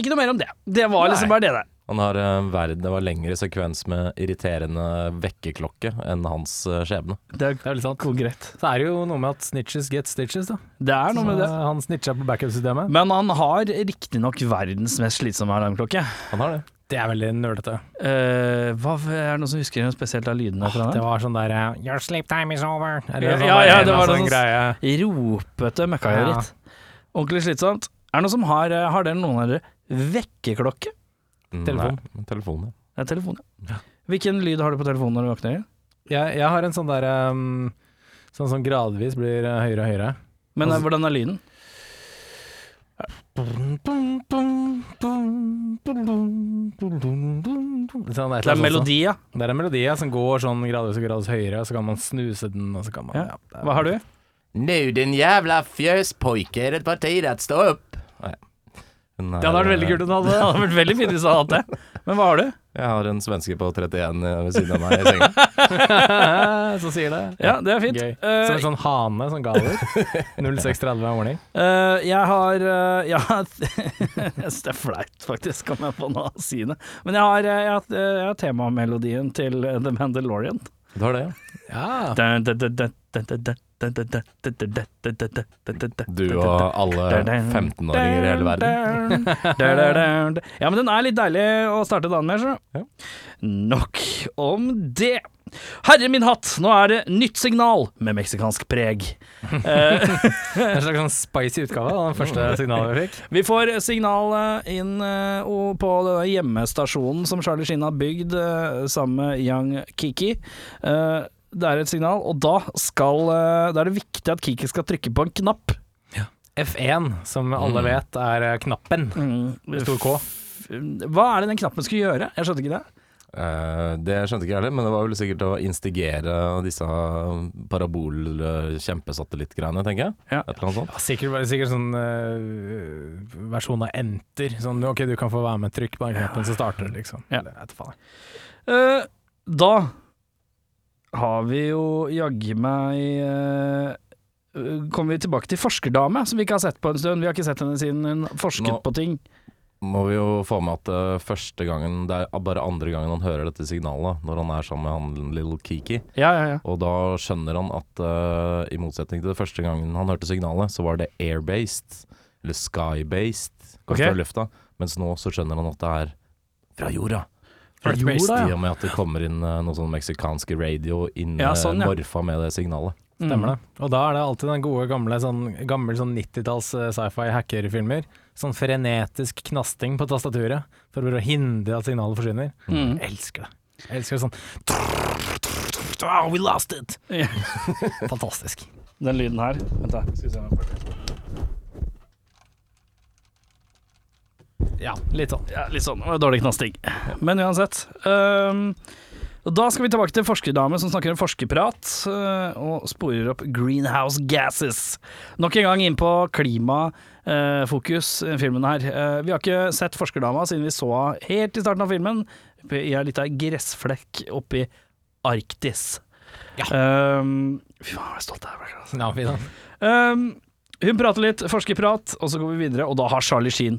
S1: ikke noe mer om det. Det var liksom
S4: Nei.
S1: bare det der.
S4: Han har eh, verden, det var lengre sekvens med irriterende vekkerklokke enn hans eh, skjebne.
S1: Det er
S2: Det er litt sant.
S1: konkret.
S2: Så er det jo noe med at snitches get stitches, da.
S1: Det er noe med det.
S2: Så eh, Han snitcha på backup-systemet.
S1: Men han har riktignok verdens mest slitsomme alarmklokke.
S4: Han har det.
S2: Det er veldig nølete.
S1: Eh, hva er det noen som husker noe spesielt av lydene fra
S2: Det
S1: den?
S2: var sånn derre Your sleep time is over.
S1: Ja, ja, det var
S2: en
S1: noe sånn-
S2: sånn greie.
S1: Ropete møkkajoritt. Ordentlig slitsomt. Er det noen som har, eh, har dere noen av dere vekkerklokke?
S4: Mm,
S2: Telefon.
S4: Nei, telefon, ja.
S1: Det er telefon, ja. Hvilken lyd har du på telefonen når du våkner?
S2: Jeg, jeg har en sånn derre um, Sånn som gradvis blir eh, høyere og høyere.
S1: Men eh, hvordan er lyden?
S2: Sånn,
S1: Det er melodi, ja.
S2: Det er en melodi ja, som går sånn gradvis og gradvis høyere, og så kan man snuse den, og så kan man
S1: Ja.
S2: ja, det er-
S1: Hva har du?
S4: Nu din jävla fjöspojke, är det på tid att stå upp? Nej. Den här,
S1: Ja, det hadde vært veldig
S4: eh,
S1: kult om du hadde det. hadde vært veldig fint hvis du hadde hatt det. Men hva har du?
S4: Jeg har en svenske på 31 ved siden av meg i senga.
S2: Så sier det.
S1: Ja, det er fint.
S2: Gøy.
S1: Eh,
S2: Som en sånn hane som galer. 0630 er warning.
S1: Eh, jeg har eh, ja, Jeg synes det er flaut, faktisk, om jeg får noe å si det. Men jeg har, eh, jeg har, eh, jeg har temamelodien til eh, The Mandalorian.
S4: Du har det, ja.
S2: Ja.
S4: Du
S1: Du
S4: og alle 15-åringer i hele verden.
S1: verden. Ja, men den er litt deilig å starte dagen med, skjønner du. Nok om det. Herre min hatt, nå er det nytt signal med meksikansk preg.
S2: En slags sånn spicy utgave av den første
S1: Mm.
S2: signalet vi fikk.
S1: Vi får signalet inn eh, og på denne hjemmestasjonen som Charlie Sheen har bygd eh, sammen med Young Kiki. Eh, Det er et signal, og da, skal, eh, da er det viktig at Kiki skal trykke på en knapp.
S2: F1, som alle
S1: Mm.
S2: vet er eh, knappen.
S4: Mm,
S2: Med stor K.
S1: Hva er det den knappen skulle gjøre? Jeg skjønte ikke det.
S4: Eh, det skjønte ikke jeg heller, men det var vel sikkert å instigere disse parabol-kjempesatellittgreiene, tenker jeg.
S1: Ja.
S4: Et eller annet sånt.
S2: Ja, Sikkert, sikkert sånn eh, versjon av Enter. Sånn OK, du kan få være med, trykk på den knappen, så starter det, liksom.
S1: Ja.
S2: Eller, jeg vet faen.
S1: Eh, Da har vi jo jaggu meg eh, Kommer vi tilbake til forskerdame, som vi ikke har sett på en stund. Vi har ikke sett henne siden hun forsket
S4: Nå-
S1: på ting.
S4: Må vi jo få med at eh, første gangen, det er bare andre gangen han hører dette signalet, når han er sammen med han Little Kiki,
S1: Ja, ja, ja.
S4: og da skjønner han at eh, i motsetning til det første gangen han hørte signalet, så var det air-based, eller sky-based, kom
S1: Ok.
S4: fra lufta, mens nå så skjønner han at det er fra jorda.
S1: Fra
S2: Earth-based,
S1: jorda,
S4: I og med at det kommer inn eh, noe sånn meksikansk radio inn
S1: Ja,
S4: eh,
S1: sånn, ja.
S4: morfa med det signalet.
S2: Stemmer
S1: Mm.
S2: det. Og da er det alltid den gode gamle sånn, gammel sånn 90-talls eh, sci-fi hackerfilmer. Sånn frenetisk knasting på tastaturet for å hindre at signalet forsvinner.
S1: Mm.
S2: Jeg elsker det. Jeg elsker det sånn oh, We lost it!
S1: Ja.
S2: Fantastisk.
S1: Den lyden her. Vent da. Skal vi se om jeg får det.
S2: Ja, litt sånn.
S1: Ja, litt sånn. Det var Dårlig knasting. Men uansett. ehm, og da skal vi tilbake til forskerdame som snakker om forskerprat eh, og sporer opp greenhouse gases. Nok en gang inn på klimafokus i filmen her. Eh, vi har ikke sett forskerdama siden vi så henne helt i starten av filmen. I ei lita gressflekk oppi Arktis.
S2: Ja.
S1: Ehm, fy faen, jeg er stolt av deg. Blakkar, altså.
S2: Ja, fint, da.
S1: Ehm, hun prater litt forskerprat, og så går vi videre, og da har Charlie Sheen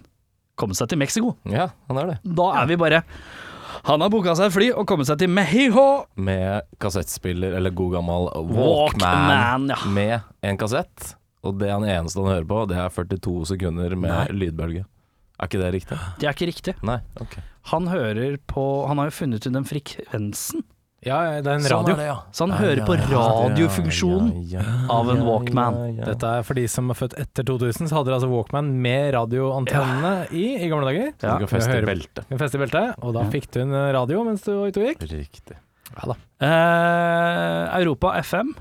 S1: kommet seg til Mexico.
S4: Ja, han er det.
S1: Da er vi bare Han har booka seg et fly og kommet seg til Mexico!
S4: Med kassettspiller, eller god gammel Walkman,
S1: Walkman, ja.
S4: med en kassett. Og det er den eneste han hører på, det er 42 sekunder med lydbølge. Er ikke det riktig?
S1: Det er ikke riktig.
S4: Nei. ok.
S1: Han hører på Han har jo funnet ut den frekvensen,
S2: Ja, det er en
S4: Sånn
S2: radio.
S4: er det, ja.
S1: så han
S4: Ja,
S1: hører
S4: ja,
S1: på
S4: ja, ja,
S1: radiofunksjonen
S4: ja, ja, ja,
S1: av en
S4: ja,
S1: Walkman.
S4: ja, ja.
S2: Dette er for de som er født etter 2000, så hadde de altså Walkman med radioantennene i i gamle dager.
S4: Så
S1: Ja,
S4: du kan feste
S2: jeg hører-
S4: beltet.
S2: En fest i beltet, og da fikk du en radio mens du var ute og gikk.
S4: Riktig.
S1: Eh, Europa FM,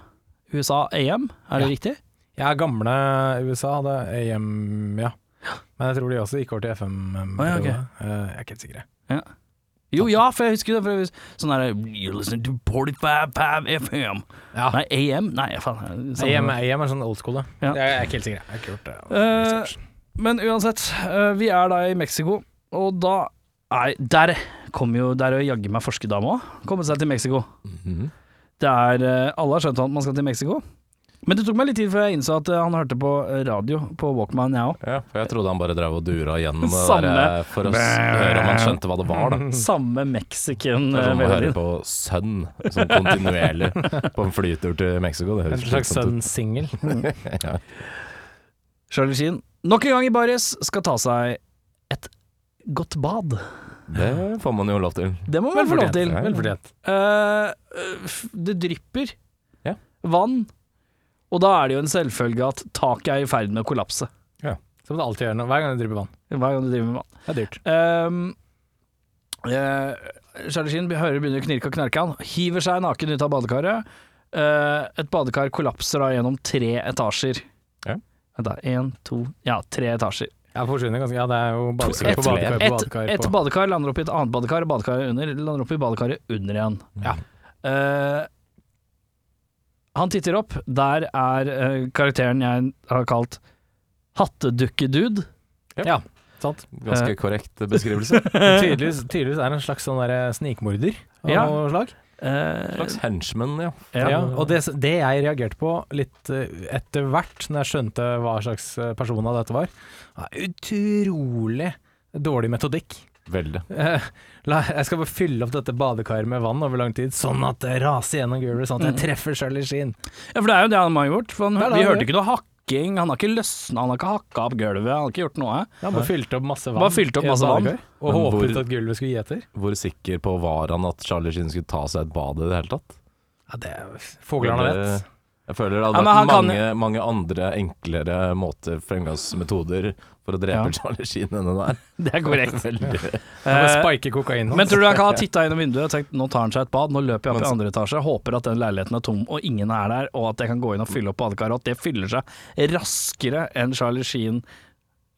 S1: USA AM, er det
S2: Ja.
S1: riktig?
S2: Ja, gamle USA hadde AM, ja. Men jeg tror de også gikk over til FM. em,
S1: Å, ja, ok.
S2: periode. Eh, Jeg er ikke helt sikker. jeg.
S1: Jo, ja, for jeg husker det. For jeg husker, sånn her You listen to 45 Pav FM.
S2: Ja.
S1: Nei, AM? Nei, faen. samme-
S2: AM, AM er sånn old school, da.
S1: Ja.
S2: Jeg jeg er ikke helt sikker. jeg. Jeg har ikke gjort det.
S1: Eh, Men uansett, eh, vi er da i Mexico, og da Nei, der kom jo Der er jo jaggu meg
S4: Mhm.
S1: forskedama òg. Komme seg til Mexico. Det er eh, Alle har skjønt at man skal til Mexico. Men det tok meg litt tid før jeg innså at eh, han hørte på radio på Walkman, jeg òg.
S4: Ja, for jeg trodde han bare drev og dura gjennom det
S1: Samme.
S4: der eh, for å s- høre om han skjønte hva det var, da.
S1: mm. Samme mexican.
S4: Mm. Det
S1: eh,
S4: er som å
S1: melodien.
S4: høre på Sønn sånn kontinuerlig på en flytur til Mexico. Det
S2: En
S4: høres
S2: slags
S4: slitsomt ut.
S2: sønn-singel.
S1: Charlie Sheen, nok en gang i baris, skal ta seg et godt bad.
S4: Det får man jo lov til.
S1: Det må man få lov til.
S4: ja.
S2: Velfortjent.
S1: Eh, f- det drypper
S4: Ja.
S1: vann, og da er det jo en selvfølge at taket er i ferd med å kollapse.
S2: Som det alltid gjør nå, hver gang du driver vann.
S1: Hver gang du driver med vann.
S2: Det er dyrt.
S1: Ehm, eh, Charlie Sheen be- hører det begynner å knirke og knerke han, hiver seg naken ut av badekaret. Eh, et badekar kollapser da gjennom tre etasjer.
S4: Ja.
S1: Vent da, én, to, ja, tre etasjer.
S2: Jeg forsvinner ganske Ja, det er jo badekar
S4: Et-
S2: på badekar på
S1: Et,
S2: badekar.
S1: et
S2: på-
S1: badekar lander opp i et annet badekar, og badekaret under lander opp i badekaret under igjen.
S2: Ja.
S1: Eh, han titter opp. Der er eh, karakteren jeg har kalt Hattedukkedude.
S2: Ja, sant.
S1: Eh.
S4: Ganske korrekt beskrivelse.
S2: Tydeligvis, tydeligvis er det en slags sånn der snikmorder av
S1: Ja.
S2: noe slag.
S1: Eh,
S4: Slags henchman, ja.
S1: Ja.
S2: Ja, og det, det jeg reagerte på litt eh, etter hvert, når jeg skjønte hva slags eh, personer dette var, var utrolig dårlig metodikk.
S4: Veldig.
S2: Eh, La, jeg skal bare fylle opp dette badekaret med vann over lang tid, sånn at det raser gjennom gulvet, sånn at
S1: Mm.
S2: jeg treffer Charlie Sheen.
S1: ja, for det er jo det han har gjort. For han,
S2: Det er det
S1: vi
S2: han
S1: hørte ikke noe hakking. Han har ikke løsna, han har ikke hakka opp gulvet, han har ikke gjort noe.
S2: Han bare fylte opp masse vann.
S1: Bare fylte opp
S2: i et
S1: masse vann.
S2: badekar, Og
S4: Men
S2: håpet
S4: hvor-
S2: at gulvet skulle gi etter.
S4: Hvor sikker på var han at Charlie Sheen skulle ta seg et bad i det hele tatt?
S2: Ja, det er Fuglene
S4: Det-
S2: vet.
S4: Jeg føler det
S1: Ja,
S4: hadde
S1: men
S4: vært
S1: han kan-
S4: mange, mange andre enklere måter, fremgangsmetoder, for å drepe
S1: Ja.
S4: Charlie Sheen enn den der.
S1: Det er korrekt.
S4: Veldig.
S2: Han bare
S1: Eh,
S2: spiker kokainen
S1: men
S2: hans.
S1: tror du han kan ha titta gjennom vinduet og tenkt nå tar han seg et bad, nå løper jeg opp i
S4: Men-
S1: andre etasje, håper at den leiligheten er tom og ingen er der, og at jeg kan gå inn og fylle opp badekaret, og at det fyller seg raskere enn Charlie Sheen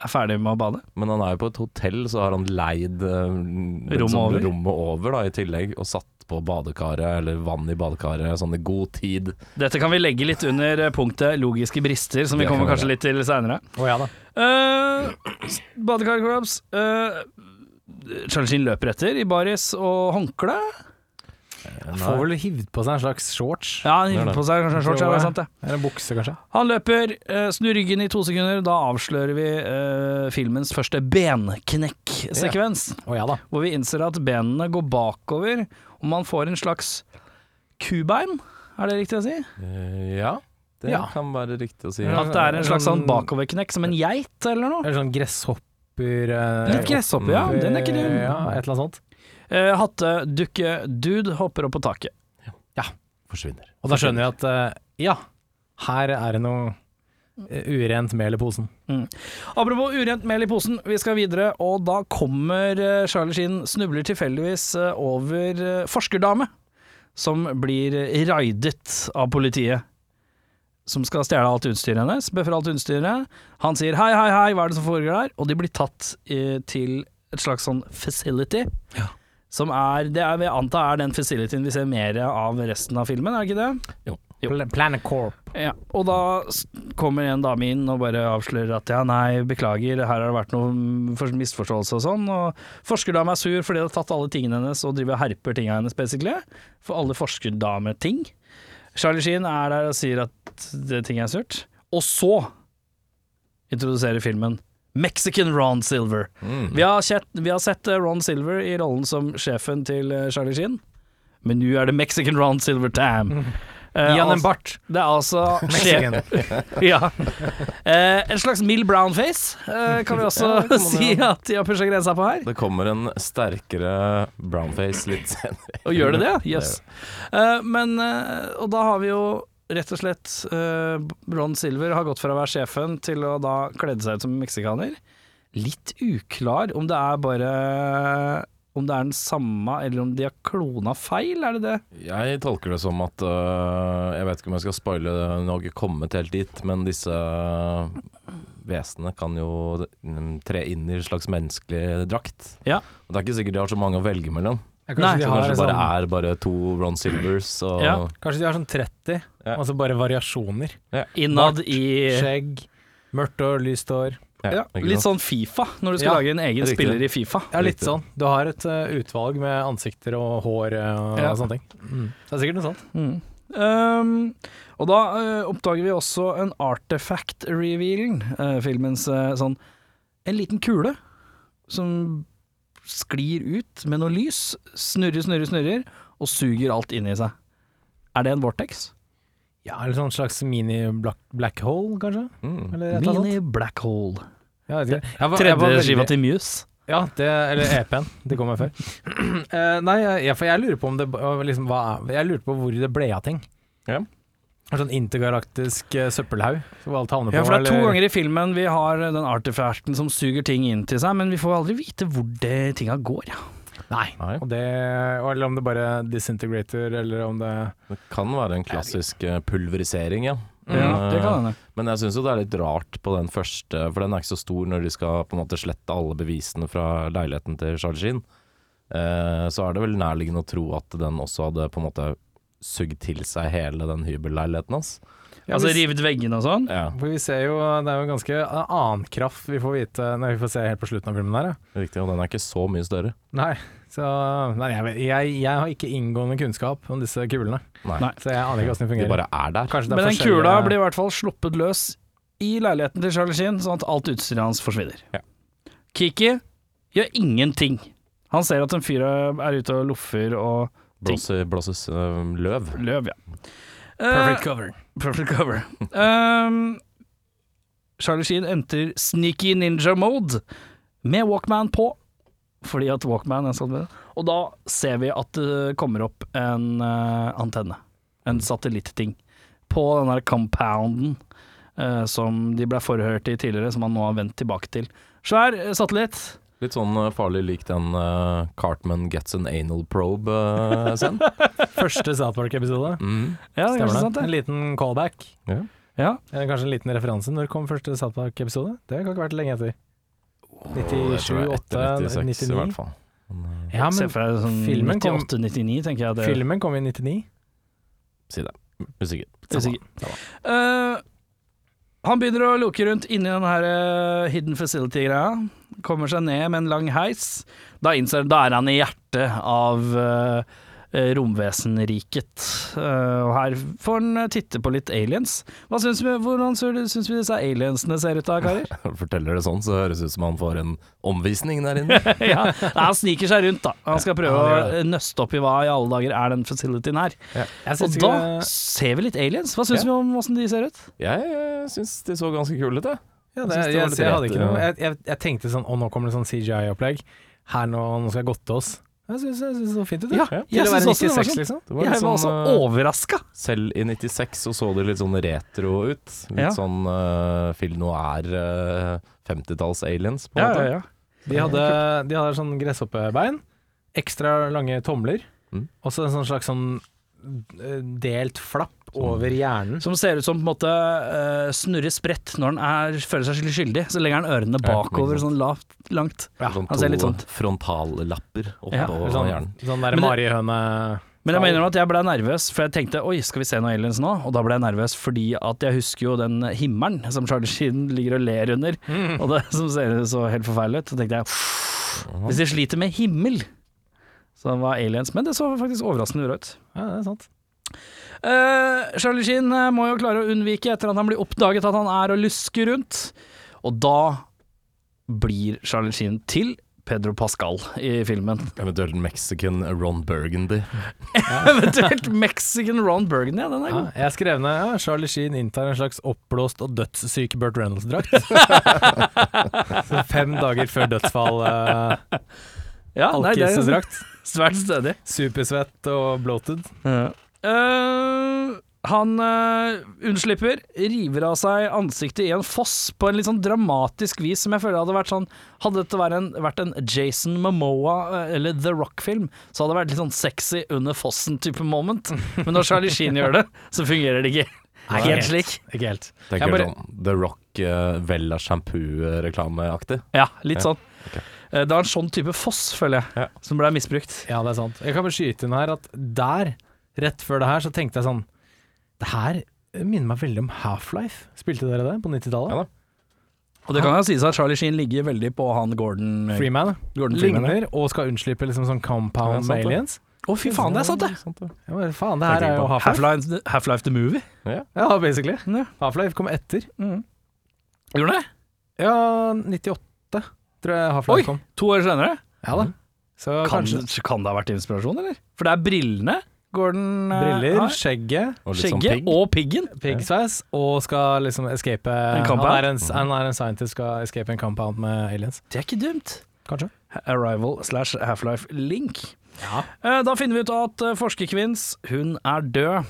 S1: er ferdig med å bade?
S4: Men han er jo på et hotell, så har han leid eh, rommet
S1: Rommet over?
S4: rommet over da, i tillegg, og satt på badekaret, eller vann i badekaret, sånn i god tid.
S1: Dette kan vi legge litt under eh, punktet logiske brister, som vi
S4: Det kan
S1: kommer
S4: vi
S1: kanskje
S4: gjøre.
S1: litt til seinere.
S2: Å ja da.
S1: Uh, Badekarkollaps. Uh, Charlie Sheen løper etter i baris og håndkle.
S2: Han får vel hivd på seg en slags shorts.
S1: Ja, han
S4: Det er
S1: hiver
S4: det.
S1: på seg kanskje en shorts. Ja, det er sant, det.
S2: Eller en bukse, kanskje.
S1: Han løper, eh, snur ryggen i to sekunder. Da avslører vi eh, filmens første benknekksekvens.
S2: Å ja da.
S1: Hvor vi innser at benene går bakover, og man får en slags kubein. Er det riktig å si?
S4: Eh, ja, det
S2: Ja.
S4: kan være riktig å si.
S2: Ja.
S1: At det er en slags sånn
S2: Sånn-
S1: bakoverknekk, som en geit eller noe?
S2: Eller sånn gresshopper eh,
S1: Litt gresshopper, ja. Den er ikke dum.
S2: Ja, et eller annet sånt.
S1: Eh, Hattedukke-dude hopper opp på taket.
S4: Forsvinner.
S2: Og da skjønner vi at eh, ja, her er det noe eh, urent mel i posen.
S1: Apropos urent mel i posen, vi skal videre, og da kommer eh, Charlie Sheen snubler tilfeldigvis eh, over eh, forskerdame, som blir eh, raidet av politiet. Som skal stjele alt utstyret hennes, bøffer alt utstyret. Han sier hei, hei, hei, hva er det som foregår der? Og de blir tatt eh, til et slags sånn facility. Som er, det er, jeg antar er den facilityen vi ser mer av resten av filmen, er det ikke det? Jo.
S2: Pla- Planet Corp.
S1: Ja, og da s- kommer en dame inn og bare avslører at ja, nei, beklager, her har det vært noen for- misforståelse og sånn. Og forskerdame er sur fordi de har tatt alle tingene hennes og driver og herper tingene hennes, basically. For alle forskerdameting. Charlie Sheen er der og sier at det ting er surt. Og så introduserer filmen Mexican Ron Silver.
S2: Mm.
S1: Vi har, sett, vi har sett eh, Ron Silver i rollen som sjefen til eh, Charlie Sheen, men nå er det Mexican Ron Silver time. Eh,
S2: Mm. Gi han en
S1: altså-
S2: bart.
S1: det er altså
S2: Mexican.
S1: ja. Eh, en slags mild brownface eh, kan vi også
S4: Ja, det kan man
S1: si
S4: jo.
S1: at de har pusha grensa på her.
S4: Det kommer en sterkere brownface litt senere.
S1: Og gjør det det? Jøss. Eh, men eh, Og da har vi jo rett og slett eh, Ron Silver har gått fra å være sjefen til å da kledde seg ut som meksikaner. Litt uklar om det er bare om det er den samme, eller om de har klona feil, er det det?
S4: Jeg tolker det som at øh, Jeg vet ikke om jeg skal spoile det, hun har ikke kommet helt dit, men disse øh, vesenene kan jo mm, tre inn i en slags menneskelig drakt.
S1: Ja.
S4: Og det er ikke sikkert de har så mange å velge mellom.
S2: Ja,
S1: Nei,
S2: Kanskje, de
S4: Så
S2: har
S4: kanskje det bare
S2: sånn,
S4: er bare to Ron Silvers og
S1: Ja.
S2: kanskje de har sånn 30,
S4: Ja.
S2: og så bare variasjoner.
S1: Innad i
S2: Skjegg, mørkt og lyst hår.
S1: ja,
S4: ikke
S1: Litt
S4: sant?
S1: sånn Fifa, når du skal
S2: Ja,
S1: lage en egen
S4: riktig.
S1: spiller i Fifa.
S2: Ja, litt
S4: Riktig.
S2: sånn. Du har et eh, utvalg med ansikter og hår eh, og
S1: Ja.
S2: sånne ting. Mm. Det er sikkert noe sånt.
S1: Mm. Um, og da eh, oppdager vi også en artefact reveal, eh, filmens eh, sånn En liten kule som sklir ut med noe lys, snurrer, snurrer, snurrer, og suger alt inn i seg. Er det en vortex?
S2: Ja, eller sånn slags mini-black hole, kanskje?
S1: sånn.
S4: Mm.
S2: Eller et eller annet.
S1: Mini black hole.
S2: Ja, jeg vet ikke. Jeg var- jeg var
S1: Tredje
S2: veldig-
S1: skiva til Muse.
S2: Ja, det, eller EP-en. Det kommer før. Eh, nei, jeg, for jeg lurer på om det ba- liksom, hva, er- Jeg lurte på hvor det ble av ting.
S4: Ja.
S2: En sånn intergalaktisk eh, søppelhaug som alt havner på.
S1: Ja, for det er to
S2: eller-
S1: ganger i filmen vi har den artefacten som suger ting inn til seg, men vi får aldri vite hvor det tinga går. Ja.
S2: Nei.
S4: Nei.
S2: Og det, og- eller om det bare disintegrater, eller om det
S4: Det kan være en klassisk eh, pulverisering, ja.
S2: Mm.
S1: Ja, det kan hende.
S4: Men jeg syns jo det er litt rart på den første, for den er ikke så stor når de skal på en måte slette alle bevisene fra leiligheten til Charlie Sheen. Eh, så er det vel nærliggende å tro at den også hadde på en måte sugd til seg hele den hybelleiligheten hans.
S2: Ja,
S1: altså
S2: hvis-
S1: rivet veggene og sånn.
S4: Ja,
S2: For vi ser jo Det er jo ganske eh, annen kraft vi får vite når vi får se helt på slutten av filmen der. Ja.
S4: riktig. Og den er ikke så mye større.
S2: Nei, så Nei, jeg, vet- jeg, jeg har ikke inngående kunnskap om disse kulene,
S4: Nei.
S1: Nei.
S2: så jeg aner ikke hvordan de
S4: De
S2: fungerer.
S4: bare er der.
S2: Kanskje det er
S1: Men den
S2: forskjellige-
S1: kula blir i hvert fall sluppet løs i leiligheten til Charlie Sheen, sånn at alt utstyret hans forsvinner.
S4: Ja.
S1: Kiki gjør ingenting. Han ser at en fyr er ute og loffer og
S4: Blåser, blåses eh, løv.
S1: løv, ja.
S2: Perfect cover.
S1: Eh, perfect cover. Ehm, Charlie Sheen entrer sneaky ninja mode med Walkman på, fordi at Walkman er sånn med. Og da ser vi at det kommer opp en eh, antenne, en satellitting, på den der compounden eh, som de ble forhørt i tidligere, som han nå har vendt tilbake til. Svær eh, satellitt.
S4: Litt sånn eh, farlig lik den eh, Cartman gets an anal probe-scenen.
S2: Første South Park-episode.
S4: mm.
S1: Ja, det er
S2: Stemmer
S1: kanskje
S2: det? En
S1: sant,
S2: liten callback.
S4: ja.
S1: det. Ja.
S2: Eller kanskje en liten referanse. Når kom første South Park-episode? Det kan ikke vært lenge etter.
S4: Jeg tror det er
S2: 97,
S4: etter
S2: 8,
S4: 96 i
S2: 99.
S4: hvert fall. Men, eh,
S2: Ja,
S1: Se
S2: men
S1: for deg sånn
S2: filmen kom-
S1: 98-99, tenker jeg. Det,
S2: filmen kom i 99.
S4: si det. Usikker.
S1: det er sikkert.
S4: Samme.
S1: Eh, han begynner å loke rundt inni den her eh, hidden facility-greia. Kommer seg ned med en lang heis. Da innser han da er han i hjertet av eh, eh, romvesenriket. Eh, og her får han eh, titte på litt aliens. Hva syns vi, hvordan syns vi disse aliensene ser ut da, karer?
S4: Forteller det sånn, så høres det ut som han får en omvisning der inne.
S1: ja, nei, han sniker seg rundt, da. Han skal prøve
S2: Ja,
S1: å
S2: han
S1: nøste opp i hva i alle dager er den facilityen her.
S2: Jeg
S1: Og
S2: synes
S1: da
S2: ikke det-
S1: ser vi litt aliens. Hva syns
S4: Ja.
S1: vi om åssen de ser ut?
S4: Jeg eh, syns de så ganske kule ut, jeg.
S2: ja,
S4: jeg
S2: det,
S4: synes det
S2: jeg,
S4: var litt
S2: jeg hadde ikke
S4: rett,
S2: noe
S4: ja.
S2: jeg, jeg, jeg tenkte sånn Å, nå kommer det sånn CGI-opplegg. Her nå, nå skal jeg godte oss. Jeg syns jeg synes det så fint ut.
S1: Ja,
S2: Til
S1: jeg
S2: å være
S1: synes også det var
S2: 96, liksom.
S4: Det var
S1: Jeg
S4: litt
S1: var også
S4: sånn, eh,
S1: overraska.
S4: selv i 96 så så det litt sånn retro ut. Litt
S1: Ja.
S4: sånn uh, Phil Noir eh, 50-talls-aliens, på en
S1: Ja,
S4: måte.
S1: ja, ja.
S2: De hadde, de hadde sånn gresshoppebein, ekstra lange tomler,
S4: Mm.
S2: og så en sånn slags sånn eh, delt flapp
S4: Sånn
S2: over hjernen.
S1: Som ser ut som på en måte eh, snurrer spredt når han er, føler seg skikkelig skyldig. Så legger han ørene
S4: Ja,
S1: bakover
S4: ikke sant.
S1: sånn lavt, langt.
S4: Sånn
S1: han ser litt
S4: to
S1: sånn.
S4: frontallapper oppå
S1: Ja,
S2: Eller Sånn,
S4: hjernen.
S2: sånn
S1: Men det-
S2: der marihøne
S1: Men jeg mener at jeg ble nervøs, for jeg tenkte oi, skal vi se noen aliens nå? Og da ble jeg nervøs fordi at jeg husker jo den himmelen som Charlie Sheen ligger og ler under,
S2: Mm.
S1: og det som ser så helt forferdelig ut. Så tenkte jeg hvis de sliter med himmel, så var aliens Men det så faktisk overraskende bra ut.
S2: Ja, det er sant.
S1: Eh, Charlie Sheen eh, må jo klare å unnvike etter at han blir oppdaget at han er og lusker rundt. Og da blir Charlie Sheen til Pedro Pascal i filmen.
S4: Eventuelt Mexican Ron Burgundy.
S1: Eventuelt Mexican Ron Burgundy, ja, den er
S2: Ja,
S1: god.
S2: jeg skrev ned ja, Charlie Sheen inntar en slags oppblåst og dødssyk Burt Reynolds-drakt. Så Fem dager før dødsfall. Uh,
S1: Ja, nei, det er
S2: Alkis-drakt.
S1: svært stødig.
S2: Supersvett og bloated.
S1: Eh, han eh, unnslipper, river av seg ansiktet i en foss på en litt sånn dramatisk vis som jeg føler hadde vært sånn Hadde dette vært en, vært en Jason Momoa eh, eller The Rock-film, så hadde det vært litt sånn sexy under fossen-type moment. Men når Charlie Sheen gjør det, så fungerer det ikke.
S2: Nei,
S1: Helt slik.
S2: Ikke helt.
S4: Tenker
S1: Jeg bare-
S4: sånn The Rock uh, Vella shampoo-reklameaktig.
S1: Ja, litt
S4: Ja,
S1: sånn. Eh, Det var en sånn type foss, føler jeg, som ble misbrukt.
S2: Ja, det er sant. Jeg kan bare skyte inn her at der, rett før det her, så tenkte jeg sånn Det her minner meg veldig om Half-Life. Spilte dere det på 90-tallet?
S4: Ja da.
S1: Og det kan jo sies at Charlie Sheen ligger veldig på han Gordon eh,
S2: Freeman
S1: Gordon Freeman,
S2: ligner og skal unnslippe liksom sånn
S4: Ja,
S2: compound
S4: sant
S2: med
S4: det.
S2: aliens.
S1: Å, fy faen, det er sant, det!
S4: sant det.
S2: Ja, men faen, det her er jo Half-Life.
S1: Half-Life Half the Movie.
S2: Ja, basically.
S1: Ja.
S2: Half-Life kom etter.
S1: Gjorde den det?
S2: Ja, 98 tror jeg Half-Life
S1: Oi!
S2: kom.
S1: To år senere?
S2: Ja da. Så
S1: Kan,
S2: kanskje
S1: kan det ha vært inspirasjon, eller? For det er brillene Gordon eh,
S2: briller,
S1: har.
S2: skjegget,
S4: Og litt sånn
S1: skjegget
S4: pigg.
S1: og piggen.
S2: piggsveis, og skal liksom escape han
S1: compound?
S2: er, en, han er en scientist, skal escape en compound med aliens.
S1: Det er ikke dumt.
S2: Kanskje.
S1: Arrival slash Half-Life Link. Eh, Da finner vi ut at eh, forskerkvinns, hun er død.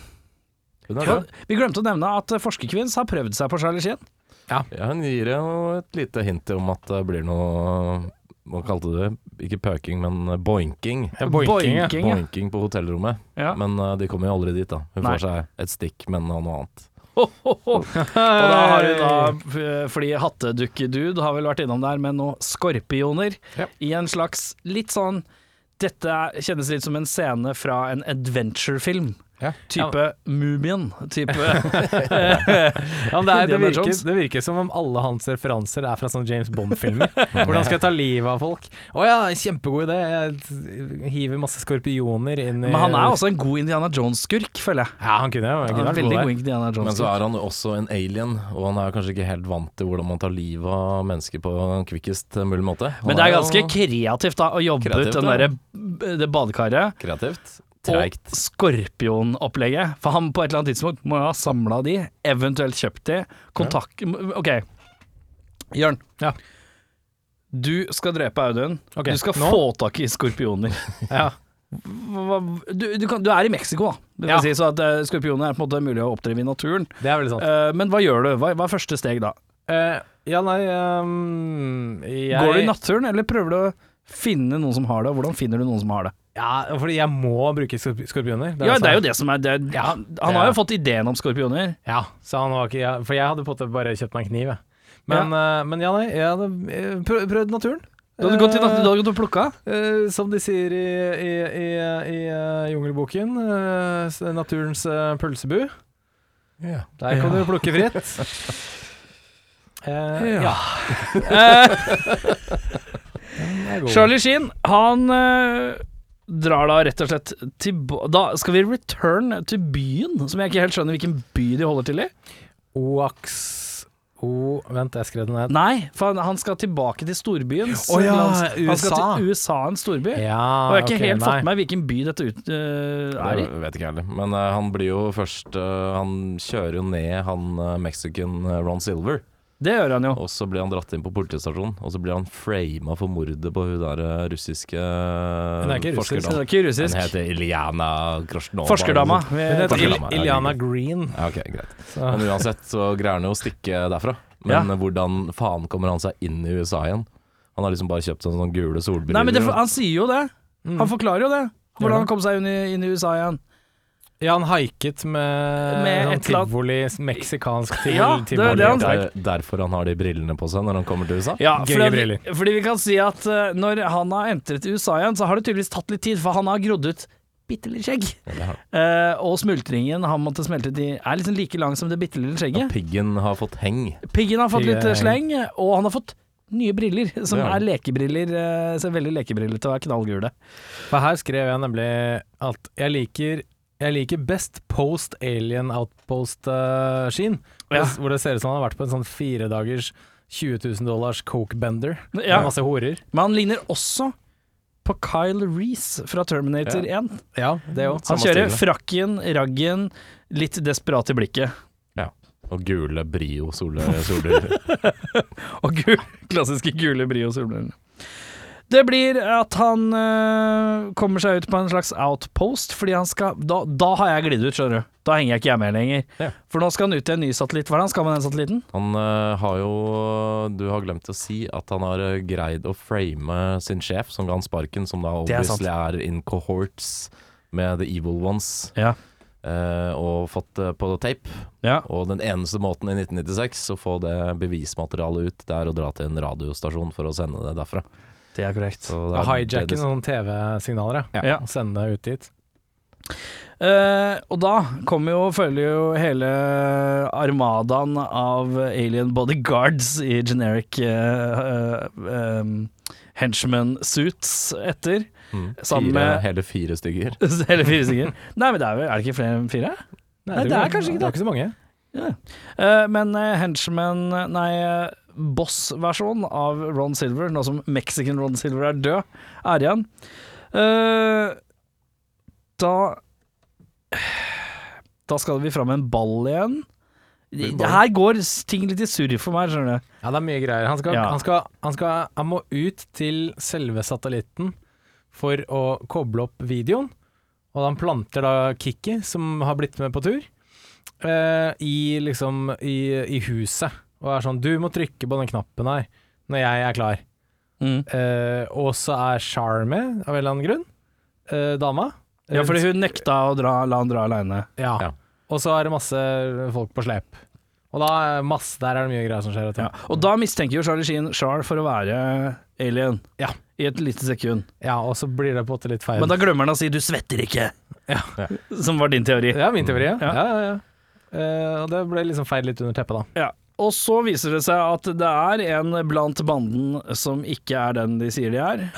S4: Hun er
S1: Ja,
S4: død.
S1: vi glemte å nevne at eh, forskerkvinns har prøvd seg på Charlie Sheen.
S4: Ja, hun gir jo et lite hint om at det blir noe Hva kalte du det? Ikke pøking, men boinking.
S2: Ja, boinking, ja.
S1: Boinking, ja.
S4: Boinking på hotellrommet.
S1: Ja.
S4: Men eh, de kommer jo aldri dit, da. Hun
S1: Nei.
S4: får seg et stikk, men av noe annet.
S1: Ho, ho, ho. Og da har hun da, eh, fordi hattedukkedude har vel vært innom der med noen skorpioner,
S2: Ja.
S1: i en slags litt sånn Dette er- kjennes litt som en scene fra en adventure-film.
S2: Ja.
S1: Type Mumien. Type
S2: Ja, men det, er, det,
S1: Indiana
S2: virker,
S1: Jones.
S2: det virker som om alle hans referanser er fra sånne James Bond-filmer. Hvordan skal jeg ta livet av folk? Å ja, kjempegod idé. Jeg hiver masse skorpioner inn i
S1: Men han er også en god Indiana Jones-skurk, føler jeg.
S2: Ja, han kunne jo. han
S1: Han
S2: kunne
S1: er en
S2: vært
S1: veldig
S2: god der.
S1: god Indiana
S4: Men så
S1: Jones-skurk.
S4: er han jo også en alien, og han er kanskje ikke helt vant til hvordan man tar livet av mennesker på kvikkest mulig måte. Han
S1: Men det er
S4: jo
S1: ganske kreativt da å jobbe
S4: Kreativt,
S1: ut den
S4: ja.
S1: derre- det badekaret.
S4: kreativt.
S1: Og
S4: Treigt.
S1: skorpionopplegget. For han på et eller annet tidspunkt må jo ha samla de, eventuelt kjøpt de. Kontakt OK. Jørn.
S2: Ja.
S1: Du skal drepe Audun.
S2: Ok,
S1: du skal
S2: nå?
S1: få tak i skorpioner.
S2: Ja.
S1: Hva- hva- Du, du, kan, du er i Mexico, da. Det vil
S2: Ja.
S1: si, så at eh, skorpioner er på en måte mulig å oppdrive i naturen.
S2: Det er veldig sant.
S1: Eh, men hva gjør du? Hva, hva er første steg da?
S2: Eh, ja, nei ehm, jeg,
S1: Går du i naturen, eller prøver du å finne noen som har det? og Hvordan finner du noen som har det?
S2: Ja, fordi jeg må bruke skorp skorpioner. sånn
S1: Ja, det er jo
S2: som
S1: det som er det, Han, han har jo fått ideen om skorpioner.
S2: Ja, så han var ikke ja, For jeg hadde på en måte bare kjøpt meg en kniv, jeg. Men ja, men ja nei, jeg hadde eh, prøv- prøvd naturen.
S1: Du hadde gått i natten, du hadde gått og plukka.
S2: Eh, som de sier i, i, i, i eh, Jungelboken, eh, s- naturens eh, pølsebu. Der kan du plukke fritt. Eh, ja. Den er god.
S1: Eh. Charlie Sheen, han eh, drar da rett og slett tilbake Da skal vi return til byen, som jeg ikke helt skjønner hvilken by de holder til i.
S2: Oaks O... Vent, jeg skrev den ned.
S1: Nei, for han, han skal tilbake til storbyen.
S2: Å ja,
S1: Han skal
S2: USA.
S1: til USA, en storby. Og
S2: Ja,
S1: jeg har ikke
S2: ok,
S1: helt
S2: nei.
S1: fått med meg hvilken by dette ut, eh, er i.
S4: Det vet ikke jeg heller. Men eh, han blir jo først eh, Han kjører jo ned han eh, mexican eh, Ron Silver,
S1: Det gjør han jo.
S4: og så blir han dratt inn på politistasjonen, og så blir han frama for mordet på hun der eh, russiske
S2: Hun er
S1: Så
S2: ikke russisk,
S1: det
S4: forskerdama.
S1: er ikke
S4: Hun
S1: russisk.
S4: heter Iliana Grosjnova.
S1: Forskerdama.
S2: Hun
S1: Vi-
S2: heter Il
S4: Forskerdama, ja,
S2: Iliana
S4: greit.
S2: Green.
S4: Ja, ok, greit.
S2: Så.
S4: Men uansett så greier han jo å stikke derfra. Men hvordan faen kommer han seg inn i USA igjen? Han har liksom bare kjøpt seg sånne gule solbriller.
S1: Nei, men det,
S4: og-
S1: han sier jo det. Han forklarer jo det. Hvordan han kom seg inn i, inn i USA igjen.
S2: Ja, han haiket med,
S1: Med
S2: sånn
S1: et eller annet-
S2: tivoli, meksikansk tivoli.
S1: Ja, det er
S2: tivoli.
S1: det han-
S4: det er derfor han har de brillene på seg når han kommer til USA.
S1: Ja,
S2: Gøye
S1: fordi,
S2: briller.
S1: fordi vi kan si at eh, når han har entret USA igjen, så har det tydeligvis tatt litt tid, for han har grodd ut bitte litt skjegg. Eh, og smultringen han måtte smelte til, er liksom like lang som det bitte lille skjegget.
S4: Piggen har fått heng.
S1: Piggen har fått
S2: Piggen-
S1: litt eh, sleng, og han har fått nye briller, som
S4: Det har han.
S1: er lekebriller. eh, ser veldig lekebrillete og er knallgule.
S2: For her skrev jeg nemlig at jeg liker jeg liker best post alien outpost uh, Sheen, hvor,
S1: Ja.
S2: det- hvor det ser ut som han har vært på en sånn fire dagers 20 000 dollars coke bender
S1: Ja.
S2: med masse horer.
S1: Men han ligner også på Kyle Reece fra Terminator 1.
S2: Ja, det òg.
S1: Han
S4: Samme
S1: kjører
S4: stil,
S1: frakken, raggen, litt desperat i blikket.
S4: Og gule Brio sole- solbriller.
S1: Og gul, klassiske gule brio solbriller. Det blir at han øh, kommer seg ut på en slags outpost, fordi han skal Da, da har jeg glidd ut, skjønner du. Da henger jeg ikke jeg med lenger.
S4: Ja.
S1: For nå skal han ut til en ny satellitt. Hva er det han skal med den satellitten?
S4: Han eh, har jo Du har glemt å si at han har eh, greid å frame sin sjef, som ga han sparken, som da
S1: Det er sant.
S4: obviously er in cohorts med the evil ones,
S1: Ja.
S4: eh, og fått det på tape.
S1: ja.
S4: Og den eneste måten i 1996 å få det bevismaterialet ut, det er å dra til en radiostasjon for å sende det derfra.
S1: Det er korrekt.
S4: Så det er
S2: Hijacke
S4: det-
S2: noen TV-signaler, ja.
S1: Ja.
S2: Og sende det ut dit.
S1: Eh, og da kommer jo, følger jo hele armadaen av alien bodyguards i generic eh, eh, em, henchman eh, suits etter. Sammen
S4: Mm. fire,
S1: med
S4: hele fire stykker.
S1: Hele fire stykker. Nei, men det er, vel, er det ikke flere enn fire? Nei,
S2: jeg
S1: det
S2: tror
S1: er kanskje ikke
S2: Det er ikke så mange.
S1: Ja. Eh, men eh, henchman, nei, eh, boss-versjonen av Ron Silver, nå som Mexican Ron Silver er død, er igjen. Eh, da Da skal vi fram med en ball igjen. Det her går s- ting litt i surr for meg, skjønner du.
S2: Ja, det er mye greier. Han skal,
S1: Ja.
S2: han skal, han skal Han må ut til selve satellitten for å koble opp videoen. Og han planter da Kikki, som har blitt med på tur, eh, i liksom i, i huset. Og er sånn Du må trykke på den knappen her når jeg er klar. Eh, og så er Char med, av en eller annen grunn. Eh, dama.
S1: Ja, fordi hun nekta å dra, la han dra aleine.
S2: ja.
S4: Ja.
S2: Og så er det masse folk på slep. Og da er masse, der er det mye greier som skjer. vet du.
S1: Ja. Og da mistenker jo Charlie Sheen Char for å være alien.
S2: Ja.
S1: I et lite sekund.
S2: Ja, og så blir det på en måte litt feil.
S1: Men da glemmer han å si 'du svetter ikke',
S2: Ja.
S1: som var din teori.
S2: Det er min teori, ja.
S1: Ja.
S2: ja, ja, ja. Eh, og det ble liksom feil litt under teppet, da.
S1: Ja. Og så viser det seg at det er en blant banden som ikke er den de sier de er.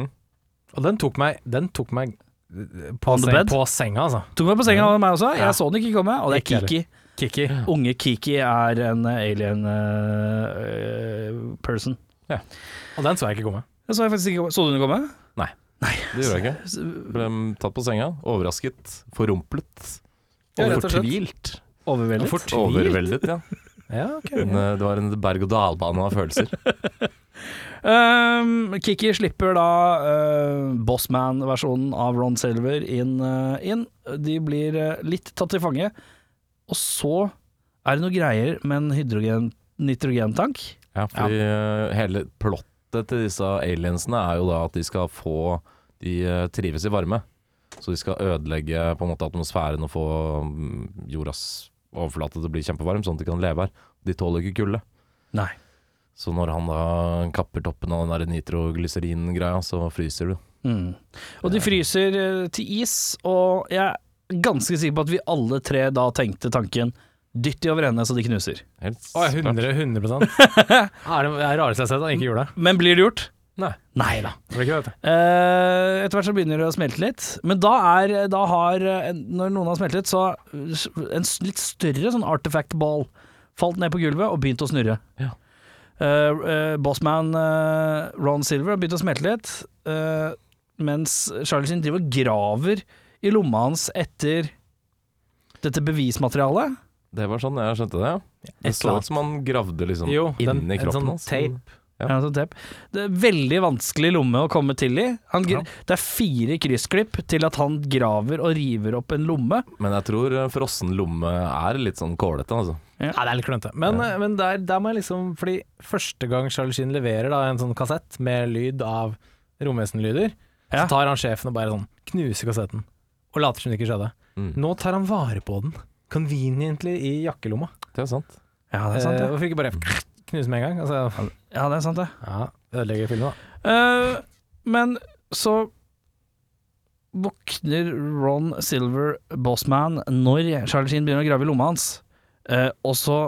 S2: Og den tok meg, den tok meg eh, på,
S1: On the
S2: seng,
S1: bed?
S2: på senga, altså.
S1: Tok meg på senga av meg også.
S2: Ja.
S1: Jeg så den ikke komme. Og det er
S2: Ikke
S1: Kiki.
S2: Kiki.
S1: Unge Kiki er en alien eh, person.
S2: Og den så jeg ikke komme.
S1: Jeg så jeg faktisk ikke komme. Så du den komme?
S4: Nei. Det gjorde jeg ikke. Ble tatt på senga, overrasket, forrumplet.
S2: Ja,
S4: Og
S2: rett og slett.
S4: fortvilt.
S1: Overveldet.
S4: Overveldet, ja.
S2: Ja, ok.
S4: En, eh, det var en berg-og-dal-bane av følelser.
S1: Ehm, Kiki slipper da eh, Bossman-versjonen av Ron Silver inn, eh, inn. De blir eh, litt tatt til fange. Og så er det noen greier med en hydrogen, nitrogentank.
S4: Ja, fordi eh, hele plottet til disse aliensene er jo da at de skal få De eh, trives i varme. Så de skal ødelegge på en måte atmosfæren og få mm, jordas overflate til å bli kjempevarm, sånn at de kan leve her. De tåler ikke kulde.
S1: Nei.
S4: Så når han da kapper toppen av den der nitroglyserin-greia, så fryser du.
S1: Mm. Og de fryser eh, til is, og jeg er ganske sikker på at vi alle tre da tenkte tanken dytt de over ende så de knuser.
S4: Helt
S2: Å,
S4: klart.
S2: 100, 100 Er det det er rareste jeg har sett, han ikke gjorde det.
S1: Men blir det gjort?
S4: Nei.
S1: Nei da.
S2: Det blir ikke det, vet du.
S1: Eh, etter hvert så begynner det å smelte litt, men da er da har, eh, Når noen har smeltet, så en s- litt større sånn artifact ball falt ned på gulvet og begynte å snurre.
S4: Ja.
S1: Eh, eh, bossman eh, Ron Silver har begynt å smelte litt, eh, mens Charlie sin driver og graver i lomma hans etter dette bevismaterialet.
S4: Det var sånn jeg skjønte det. Det
S2: Et
S4: så
S2: eller
S4: ut som han gravde liksom
S2: Jo, den,
S4: inni
S2: en
S4: kroppen
S2: sånn
S4: hans.
S2: tape.
S4: Ja.
S1: Ja, sånn tepp. Det er veldig vanskelig lomme å komme til i. Han, gr-
S4: Ja.
S1: Det er fire kryssklipp til at han graver og river opp en lomme.
S4: Men jeg tror eh, frossen lomme er litt sånn kålete, altså.
S2: Nei, det er litt klønete. Men, eh, men der, der må jeg liksom Fordi første gang Charlie Sheen leverer da en sånn kassett med lyd av romvesenlyder,
S1: Ja.
S2: så tar han sjefen og bare sånn knuser kassetten. Og later som det ikke skjedde.
S4: Mm.
S2: Nå tar han vare på den. Conveniently i jakkelomma.
S4: Det er sant.
S1: Ja,
S2: Eh, Hvorfor ikke bare knuse med en gang? Altså,
S1: Ja, det er sant, det.
S2: ja, ødelegger filmen, da.
S1: Eh, men så våkner Ron Silver, bossman, når Charlie Sheen begynner å grave i lomma hans, eh, og så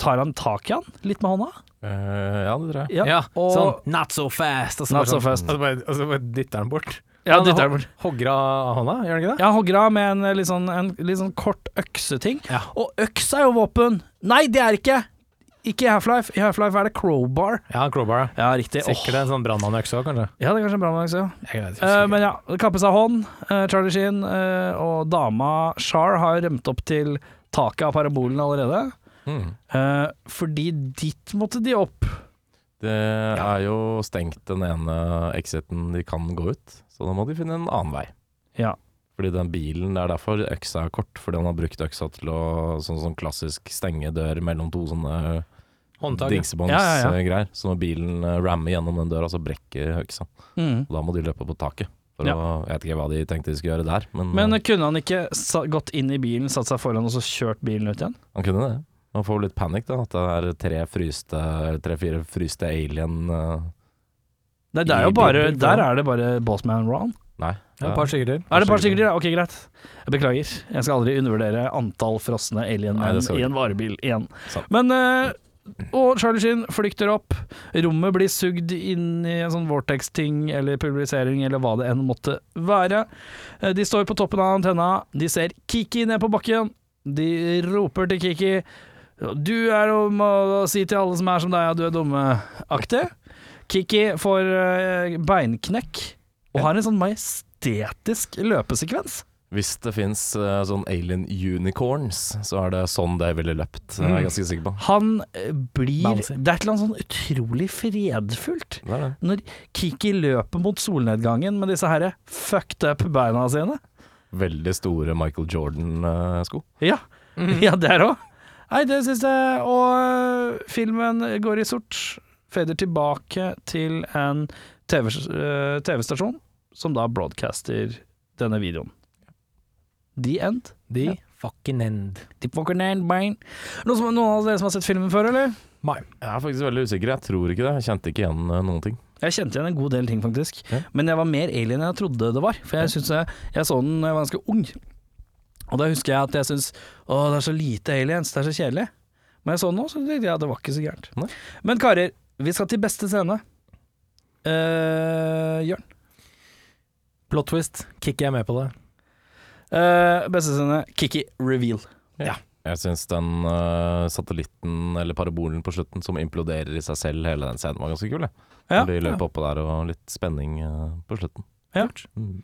S1: tar han tak i han litt med hånda.
S4: Eh, ja, det tror jeg.
S1: Ja, og,
S2: sånn not so fast. Og så
S1: Not
S2: bare
S1: so
S2: sånn-
S1: fast.
S2: Og så bare, og så bare dytter han bort.
S1: ja,
S2: Han
S1: dytter
S2: ho-
S1: han bort.
S2: Hogger av hånda, gjør han ikke det?
S1: Ja, hogger av med en eh, litt sånn, en, litt sånn kort økseting.
S2: Ja.
S1: Og øks er jo våpen! Nei, det er ikke! Ikke i Half-Life. I Half-Life er det crowbar.
S2: Ja, crowbar. ja.
S1: Ja, riktig. Åh.
S2: Sikkert en sånn brannmannøkse òg, kanskje.
S1: Ja, det er kanskje en bra mann også.
S2: Jeg vet ikke.
S1: Eh, men ja, det kappes av hånd. eh, Charlie Sheen eh, og dama Char har rømt opp til taket av parabolen allerede.
S4: Mm.
S1: Eh, fordi dit måtte de opp.
S4: Det er jo stengt den ene exiten de kan gå ut, så da må de finne en annen vei.
S1: Ja.
S4: Fordi den bilen, det er derfor øksa er kort, fordi han har brukt øksa til å sånn, sånn klassisk stenge dør mellom to sånne
S2: Håndtak.
S1: Ja,
S2: ja.
S1: ja,
S4: dingsebåndsgreier. Så når bilen eh, rammer gjennom den døra, så brekker øksa.
S1: Mm.
S4: Og da må de løpe på taket. For
S1: Ja.
S4: å, jeg vet ikke hva de tenkte de skulle gjøre der, men,
S1: Men
S4: eh,
S1: kunne han ikke sa gått inn i bilen, satt seg foran og så kjørt bilen ut igjen?
S4: han kunne det. Man får litt panikk da, at det er tre fryste, tre-fire fryste alien eh,
S1: Nei, det er
S4: I
S1: jo bare,
S4: bilen,
S1: der
S4: ja.
S1: er det bare Bossman Ron.
S4: Nei.
S2: Et par stykker til.
S1: Er det bare sikkert? Ok, greit. Jeg beklager. Jeg skal aldri undervurdere antall frosne alien
S4: Nei, det skal du
S1: i en varebil igjen.
S4: Sant.
S1: Men eh, og Charlie Sheen flykter opp. Rommet blir sugd inn i en sånn Vortex-ting eller publisering eller hva det enn måtte være. Eh, De står på toppen av antenna, de ser Kiki ned på bakken. De roper til Kiki Du er å må si til alle som er som deg at du er dumme-aktig. Kiki får eh, beinknekk og har en sånn majestetisk løpesekvens.
S4: Hvis det fins sånn alien unicorns, så er det sånn de ville løpt. Det er
S1: Mm.
S4: jeg ganske sikker på.
S1: Han eh, blir
S2: Bouncy.
S1: Det er et eller annet sånn utrolig fredfullt.
S4: Det er det.
S1: Når Kiki løper mot solnedgangen med disse herre fucked up beina sine.
S4: Veldig store Michael Jordan-sko.
S1: Ja,
S2: Mm.
S1: ja der òg. Nei, det syns jeg Og øh, filmen går i sort. Fader tilbake til en TV s- øh, TV-stasjon som da broadcaster denne videoen. The end.
S2: The
S1: Ja.
S2: fucking end.
S1: Tip walker nine mine. Noen, som, noen av dere som har sett filmen før, eller?
S2: My.
S4: Jeg er faktisk veldig usikker. Jeg tror ikke det. Jeg kjente ikke igjen eh, noen ting.
S1: Jeg kjente igjen en god del ting, faktisk.
S4: Ja.
S1: Men jeg var mer alien enn jeg trodde det var. For jeg, synes jeg, jeg så den da jeg var ganske ung. Og da husker jeg at jeg syntes å, det er så lite aliens, det er så kjedelig. Men jeg så den nå, så tenkte jeg at det var ikke så gærent.
S4: Nei.
S1: Men karer, vi skal til beste scene. Eh, Jørn.
S2: Plot twist. Kikker jeg med på det.
S1: Eh, beste scene, Kiki reveal.
S4: Jeg syns den eh, satellitten, eller parabolen på slutten, som imploderer i seg selv, hele den scenen var ganske kul. jeg.
S1: Ja.
S4: Når de løp oppå der og litt spenning eh, på slutten.
S1: Ja.
S4: Mm.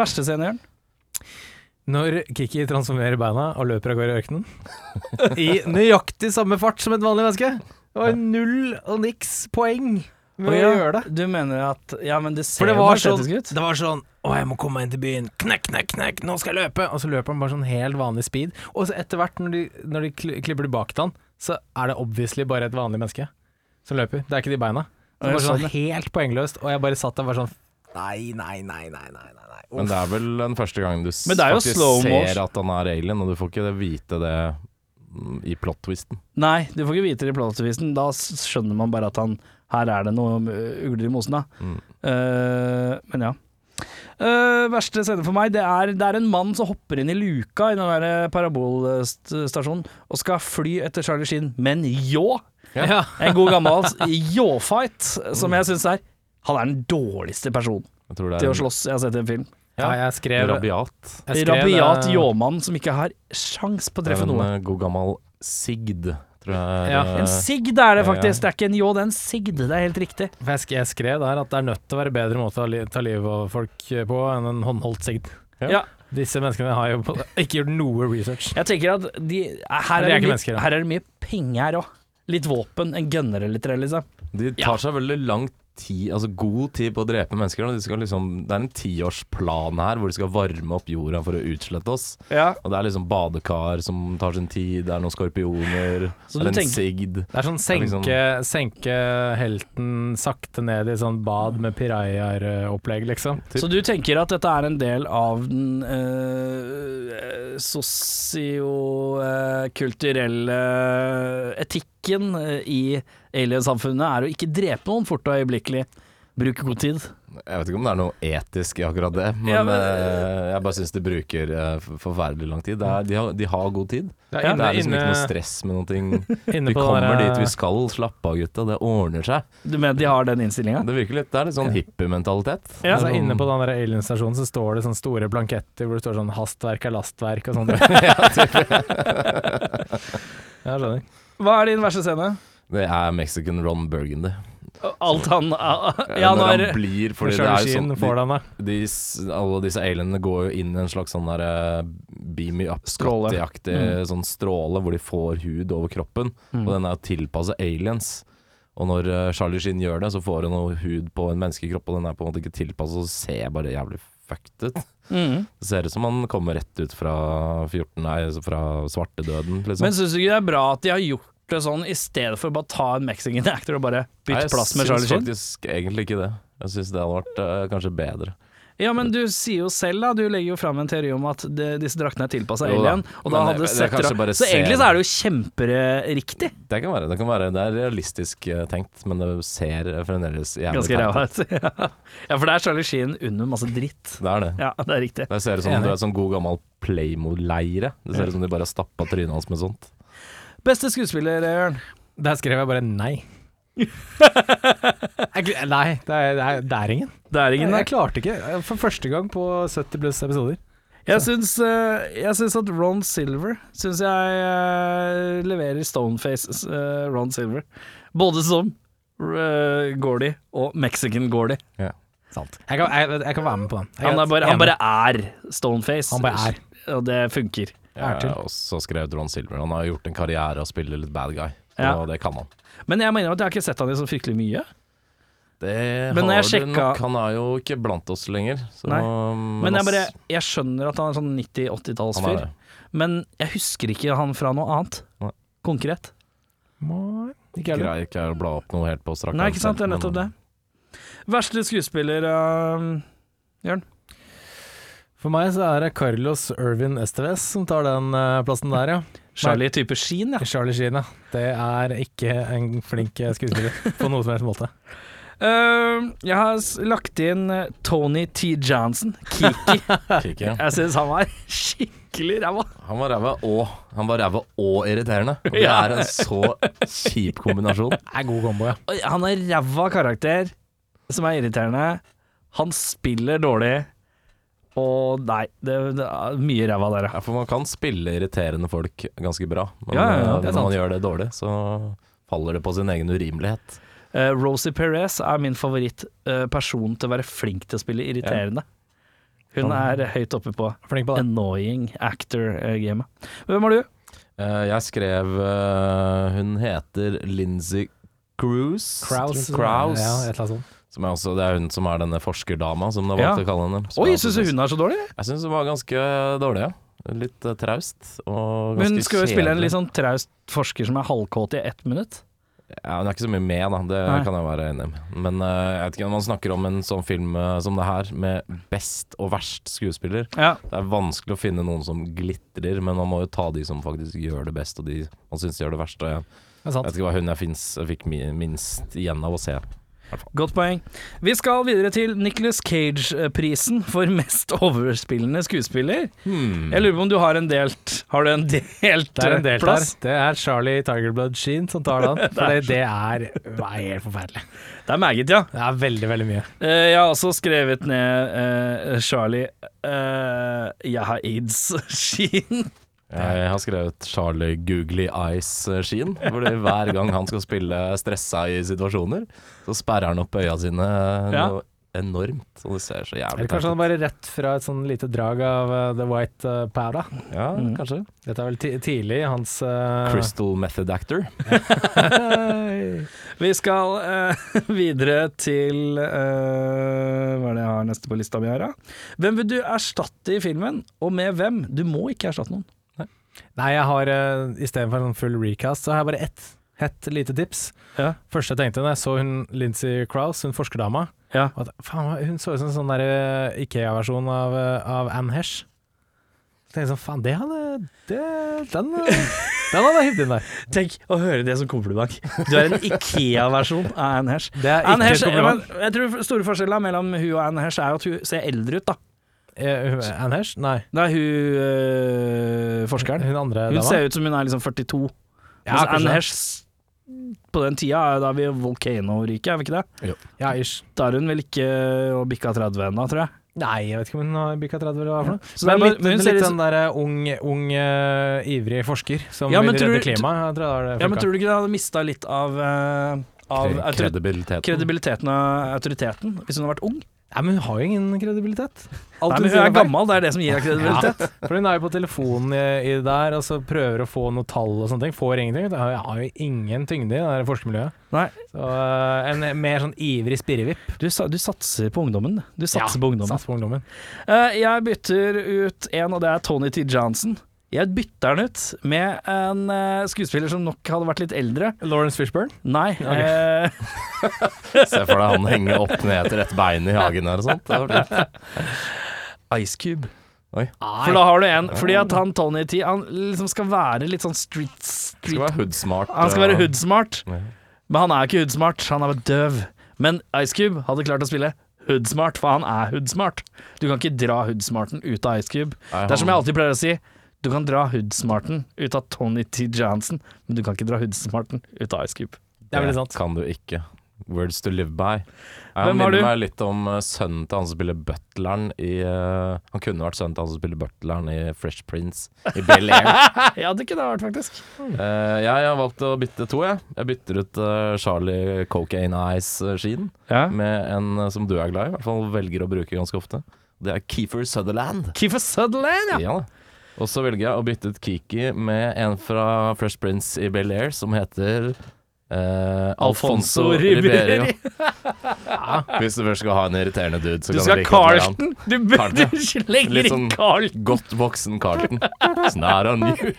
S1: Verste scene, Jørn.
S2: Når Kiki transformerer beina og løper av gårde i ørkenen. I nøyaktig samme fart som et vanlig menneske. Det var null og niks poeng med å gjøre det.
S1: Du mener at Ja, men det ser
S2: For det
S1: jo
S2: var sånn,
S1: majestetisk ut.
S2: det var sånn Å, jeg må komme meg inn til byen. Knekk, knekk, knekk, nå skal jeg løpe. Og så løper han bare sånn helt vanlig speed. Og så etter hvert, når de, når de kli- klipper tilbake til han, så er det obviously bare et vanlig menneske som løper. Det er ikke de beina. Så
S1: Ja,
S2: det var
S1: sånn,
S2: sånn helt poengløst. Og jeg bare satt der bare sånn Nei, nei, nei, nei, nei. nei, nei.
S4: Men det er vel den første gangen du s-
S1: Men det er jo
S4: faktisk
S1: slow motion.
S4: ser at han er alien, og du får ikke det- vite det mm, i plot-twisten.
S1: Nei, du får ikke vite det i plotavisen. Da s- skjønner man bare at han her er det noe øh, ugler i mosen, da.
S4: Mm.
S1: Eh, men ja. Eh, verste scene for meg, det er, det er en mann som hopper inn i luka i den der eh, parabolstasjonen og skal fly etter Charlie Sheen, men ljå!
S2: Ja.
S1: En god gammel ljå-fight, som jeg syns er Han er den dårligste personen
S4: Jeg tror det
S1: til å
S4: er
S1: slåss jeg har sett i en film.
S2: ja, jeg
S4: en
S2: skrev
S4: rabiat.
S2: jeg skrev,
S1: Rabiat
S2: eh,
S1: ljåmann som ikke har sjans på å
S4: Det er
S1: treffe
S4: en
S1: noe.
S4: eh, god gammel sigd, tror jeg.
S2: Ja,
S1: En
S4: eh,
S1: sigd er det
S4: ja, ja.
S1: faktisk, det er ikke en ljå, det er en sigd. Det er helt riktig.
S2: For jeg sk- Jeg skrev der at det er nødt til å være bedre måte å li- ta livet av folk eh, på enn en håndholdt sigd.
S1: Ja.
S2: Disse menneskene har jo ikke gjort noe research.
S1: Jeg tenker at de, her,
S2: Men
S1: er
S2: de er
S1: det
S2: ikke mennesker,
S1: mye,
S2: da.
S1: her er det mye penger òg. Litt våpen, en gunner eller tre, liksom.
S4: De tar seg veldig lang tid, altså god tid på å drepe mennesker. og De skal liksom, det er en tiårsplan her hvor de skal varme opp jorda for å utslette oss.
S1: Ja.
S4: Og det er liksom badekar som tar sin tid, det er noen skorpioner,
S1: Så
S4: det er
S1: du
S4: en
S1: tenker-
S4: sigd.
S2: Det er sånn
S4: Det er liksom-
S2: senke, senke helten sakte ned i sånn bad med pirajaer-opplegg, liksom.
S1: Så du tenker at dette er en del av den eh, sosiokulturelle etikken eh, i aliensamfunnet, er å ikke drepe noen fort og øyeblikkelig. Bruke god tid.
S4: Jeg vet ikke om det er noe etisk i akkurat det, men,
S1: Ja, men-
S4: eh, jeg bare syns de bruker eh, f- forferdelig lang tid. Det er, de, har, de har god tid.
S2: Det
S1: Ja.
S4: Det er liksom ikke noe stress med noen ting.
S2: inne
S4: Vi
S2: på den
S4: kommer
S2: der-
S1: eh,
S4: dit vi skal, slapp av gutta, det ordner seg.
S1: Du mener de har den innstillinga?
S4: Det virker litt, det er litt sånn hippie-mentalitet.
S1: Ja.
S2: altså, inne på den der alien-stasjonen så står det sånne store blanketter hvor det står sånn 'hastverk er lastverk' og sånn. ja, skjønner.
S1: Hva er din verste scene?
S4: Det er Mexican Ron Burgundy.
S1: Alt han Ja,
S4: når han
S1: når
S4: blir
S2: For
S4: Fordi det er
S2: Charlie
S4: jo
S2: Sheen
S4: sånn
S2: får
S4: de,
S2: den, da.
S4: de, s- Alle disse alienene går jo inn i en slags sånn der eh, Beam me up
S1: Stråle.
S4: Scotty-aktig sånn stråle hvor de får hud over kroppen.
S1: Mm.
S4: Og den er jo tilpasset aliens. Og når eh, Charlie Sheen gjør det, så får hun noe hud på en menneskekropp, og den er på en måte ikke tilpasset, og så ser bare jævlig fucked ut.
S1: mm.
S4: Det ser ut som han kommer rett ut fra 14 Nei, altså fra svartedøden, liksom.
S1: Men syns du ikke det er bra at de har gjort det sånn, i stedet for å bare ta en mexican actor og bare bytte plass med Charlie Sheen?
S4: Jeg syns faktisk egentlig ikke det. Jeg syns det hadde vært eh, kanskje bedre.
S1: Ja, men du sier jo selv, da. Du legger jo fram en teori om at det, disse draktene er tilpassa
S4: Jo da,
S1: alien. Og da
S4: men
S1: hadde det
S4: det- det er
S1: sett
S4: kanskje
S1: ra-
S4: bare
S1: Så egentlig
S4: scenen.
S1: så er det jo kjemperiktig.
S4: Det kan være. Det, kan være, det er realistisk eh, tenkt, men det ser fremdeles jævlig
S1: Ganske ræva
S4: teit ut.
S1: ut. Ja. ja, for det er Charlie Sheen under masse dritt.
S4: Det er det.
S1: Ja, det er riktig.
S4: Det ser ut som
S2: Enig.
S4: det er sånn god gammel Playmo-leire. Det ser ut som de bare har stappa trynet hans med sånt.
S1: Beste skuespiller, Jørn?
S2: Der skrev jeg bare nei. jeg, gl- nei, det er, det, er, det er ingen.
S1: Det er
S2: Jeg,
S1: ingen der.
S2: jeg klarte ikke. For første gang på 70 pluss episoder.
S1: Jeg syns, eh, jeg syns at Ron Silver Syns jeg eh, leverer Stonefaces eh, Ron Silver. Både som eh, Gordy og Mexican Gordy.
S2: Sant. Jeg kan, jeg, jeg kan være med på den. Jeg
S1: Han, er
S2: greit.
S1: bare, han
S2: Enig.
S1: bare er Stoneface.
S2: Han bare er.
S1: Og det funker.
S2: Jeg er til.
S4: Ja, og så skrev Ron Silver. Han har gjort en karriere og spiller litt bad guy.
S1: Ja.
S4: Og det kan han.
S1: Men jeg mener at jeg har ikke sett han i så fryktelig mye.
S4: Det
S1: Men når
S4: har
S1: jeg
S4: du
S1: sjekka-
S4: nok. Han er jo ikke blant oss lenger. Så,
S1: Nei. Men jeg,
S4: ass,
S1: bare, jeg skjønner at han er sånn 90-80-tallsfyr.
S4: Mm. han er det.
S1: Men jeg husker ikke han fra noe annet
S4: Nei.
S1: konkret.
S2: Nei, Ikke heller.
S4: Greier ikke å bla opp noe helt på strak
S1: Nei,
S4: arm
S1: ikke sant? Det er
S4: selv, men-
S1: nettopp det. Verste skuespiller ehm, Jørn?
S2: For meg så er det Carlos Irvin Esteves som tar den eh, plassen der, ja.
S1: Charlie type Sheen, ja.
S2: Charlie Sheen, ja. Det er ikke en flink eh, skuespiller på noen som helst måte.
S1: Ehm, jeg har s- lagt inn eh, Tony T. Johnson, Kiki.
S4: Kikke.
S1: Jeg syns han var skikkelig ræva.
S4: Han var ræva og Han var ræva og irriterende. Og det
S1: Ja.
S4: er en så kjip kombinasjon.
S2: Det er god kombo, ja.
S1: Oi, Han er ræva karakter som er irriterende. Han spiller dårlig. Og nei, det, det er mye ræva der, ja.
S4: Ja, for man kan spille irriterende folk ganske bra, men
S1: Ja, ja, ja,
S4: eh,
S1: det er
S4: når
S1: sant.
S4: man gjør det dårlig, så faller det på sin egen urimelighet.
S1: Eh, Rosie Perez er min favorittperson til å være flink til å spille irriterende. Hun er høyt oppe på
S2: Flink på det.
S1: annoying actor-gamet. Hvem har du?
S4: Eh, jeg skrev eh, Hun heter Lindsay Cruise.
S2: Kraus.
S4: Kraus.
S2: Ja, et eller annet sånt.
S4: som er også, det er hun som er denne forskerdama, som det er valgt
S1: Ja.
S4: å kalle henne. Som
S1: Oi,
S4: jeg
S1: syns du hun er så dårlig?
S4: Jeg syns hun var ganske dårlig, ja. Litt eh, traust. Og ganske
S1: Hun skal jo spille en
S4: kjedelig.
S1: litt sånn traust forsker som er halvkåt i ett minutt.
S4: Ja, Hun er ikke så mye med, da. Det
S1: Nei.
S4: kan jeg være enig i. Men eh, jeg vet ikke når man snakker om en sånn film eh, som det her, med best og verst skuespiller.
S1: Ja.
S4: Det er vanskelig å finne noen som glitrer, men man må jo ta de som faktisk gjør det best, og de man syns gjør det verst. Og jeg
S2: Det er sant.
S4: vet ikke hva hun jeg, finnes, jeg fikk mi- minst igjen av å se.
S1: Godt poeng. Vi skal videre til Nicholas Cage-prisen for mest overspillende skuespiller. Jeg lurer på om du har en delt Har du en delt,
S2: Det er en del der.
S1: plass?
S2: Det er Charlie Tigerblood Sheen som tar den. For det, det er det er helt forferdelig.
S1: Det er meget, ja.
S2: Det er veldig, veldig mye.
S1: Eh, Jeg har også skrevet ned eh, Charlie eh, Jeg har aids-skien.
S4: Jeg har skrevet Charlie Googly Eyes-skien, fordi hver gang han skal spille stressa i situasjoner, så sperrer han opp øya sine
S1: Ja.
S4: noe enormt, og det ser så jævlig
S2: Eller kanskje han bare rett fra et sånn lite drag av eh, The White eh, Powder.
S4: Ja,
S1: Mm.
S4: kanskje.
S2: Dette er vel ti tidlig i hans eh,
S4: Crystal Method Actor.
S1: Vi skal eh, videre til eh, Hva er det jeg har neste på lista mi her, da? Hvem vil du erstatte i filmen, og med hvem? Du må ikke erstatte noen.
S2: Nei, jeg har eh, istedenfor en full recast, så har jeg bare ett hett lite tips.
S1: Ja.
S2: Første jeg tenkte da jeg så hun Lincy Crouse, hun forskerdama
S1: Ja.
S2: at, faen, Hun så ut som en sånn der, eh, Ikea-versjon av, eh, av Anne Hesh. Så tenkte jeg sånn, faen, det hadde det, Den, eh, den hadde jeg hivd inn der.
S1: Tenk å høre det som kompliment. Du er en Ikea-versjon av Anne Hesh.
S2: Det er
S1: Anne
S2: ikke
S1: Hesh
S2: et kompliment.
S1: men jeg tror store forskjellen mellom hun og Anne Hesh er jo at hun ser eldre ut, da.
S2: Eh, hun- Anne Hesh? Nei.
S1: Det er hun eh, forskeren.
S2: Hun andre
S1: Hun ser ut som hun er liksom 42. Mens
S2: Ja, kanskje.
S1: Anne Hesh s- på den tida, er- da er vi i volcano-riket, er vi ikke det?
S2: Ja, ish.
S1: Da er hun vel ikke å bikka 30 ennå, tror jeg.
S2: Nei, jeg vet ikke om hun har bikka 30 eller hva for noe.
S1: Så
S2: Men
S1: det er bare-
S2: litt,
S1: men hun ser sånn-
S2: litt
S1: ut
S2: den derre ung, ung eh, ivrig forsker som
S1: Ja, men
S2: vil
S1: tror
S2: redde
S1: du-
S2: klimaet. Jeg tror det
S1: sånn- Ja,
S2: har
S1: men
S2: funka.
S1: tror du ikke det hadde mista litt av, eh, av
S4: Kre-
S1: autori-
S4: Kredibiliteten.
S1: kredibiliteten og autoriteten hvis hun hadde vært ung?
S2: Nei, men hun har jo ingen kredibilitet. Alt
S1: Nei, men hun
S2: sier
S1: er gammel, det er det som gir henne
S2: feil.
S1: kredibilitet.
S2: Ja, for hun er jo på telefonen i, i det der og så prøver å få noe tall og sånne ting. Får ingenting. Hun har jo ingen tyngde i det der forskermiljøet.
S1: Nei,
S2: Så eh, en mer sånn ivrig spirrevipp.
S1: du, sa- du satser på ungdommen. Du satser på ungdommen.
S2: Sats på ungdommen.
S1: Eh, jeg bytter ut en, og det er Tony T. Johnson. Jeg bytter den ut med en eh, skuespiller som nok hadde vært litt eldre.
S2: Lawrence Fishburne.
S1: Nei. eh,
S4: Se for deg han henge opp ned etter ett bein i hagen her og sånt. Det hadde vært litt-
S1: Ice Cube.
S4: Oi.
S1: For da har du en. Fordi at han Tony T Han liksom skal være litt sånn street, street
S4: Skal være hoodsmart.
S1: Han skal
S4: ja.
S1: være hoodsmart,
S4: Ja.
S1: men han er ikke hoodsmart. Han er bare døv. Men Ice Cube hadde klart å spille hoodsmart, for han er hoodsmart. Du kan ikke dra hoodsmarten ut av Ice Cube.
S4: Nei,
S1: Det er som jeg
S4: han-
S1: alltid pleier å si, Du kan dra hoodsmarten ut av Tony T. Johnson, men du kan ikke dra hoodsmarten ut av Ice Cube.
S2: Det er veldig sant.
S4: kan du ikke. Words to live by.
S1: Hvem
S4: Jeg
S1: var du?
S4: minner meg litt om eh, sønnen til han som spiller butleren i eh, Han kunne vært sønnen til han som spiller butleren i Fresh Prince i Bel Air.
S1: Jeg hadde ikke det vært, faktisk.
S4: Eh, jeg har valgt å bytte to, jeg. Jeg bytter ut eh, Charlie Cocaine Eyes-skien
S1: Ja.
S4: med en eh, som du er glad i, i hvert fall velger å bruke ganske ofte. Det er Keefer Sutherland.
S1: Keefer Sutherland, ja!
S4: Ja. da. Og så velger jeg å bytte ut Kiki med en fra Fresh Prince i Bel Air som heter eh, Alfonso Riberio. Hvis du først skal ha en irriterende dude, så
S1: Du
S4: kan
S1: skal ha
S4: like godt være han.
S1: Carlton! Du, bør-
S4: Carlton,
S1: du slenger
S4: Litt
S1: inn
S4: sånn
S1: Carlton!
S4: godt voksen Carlton. Sånn Snær on you.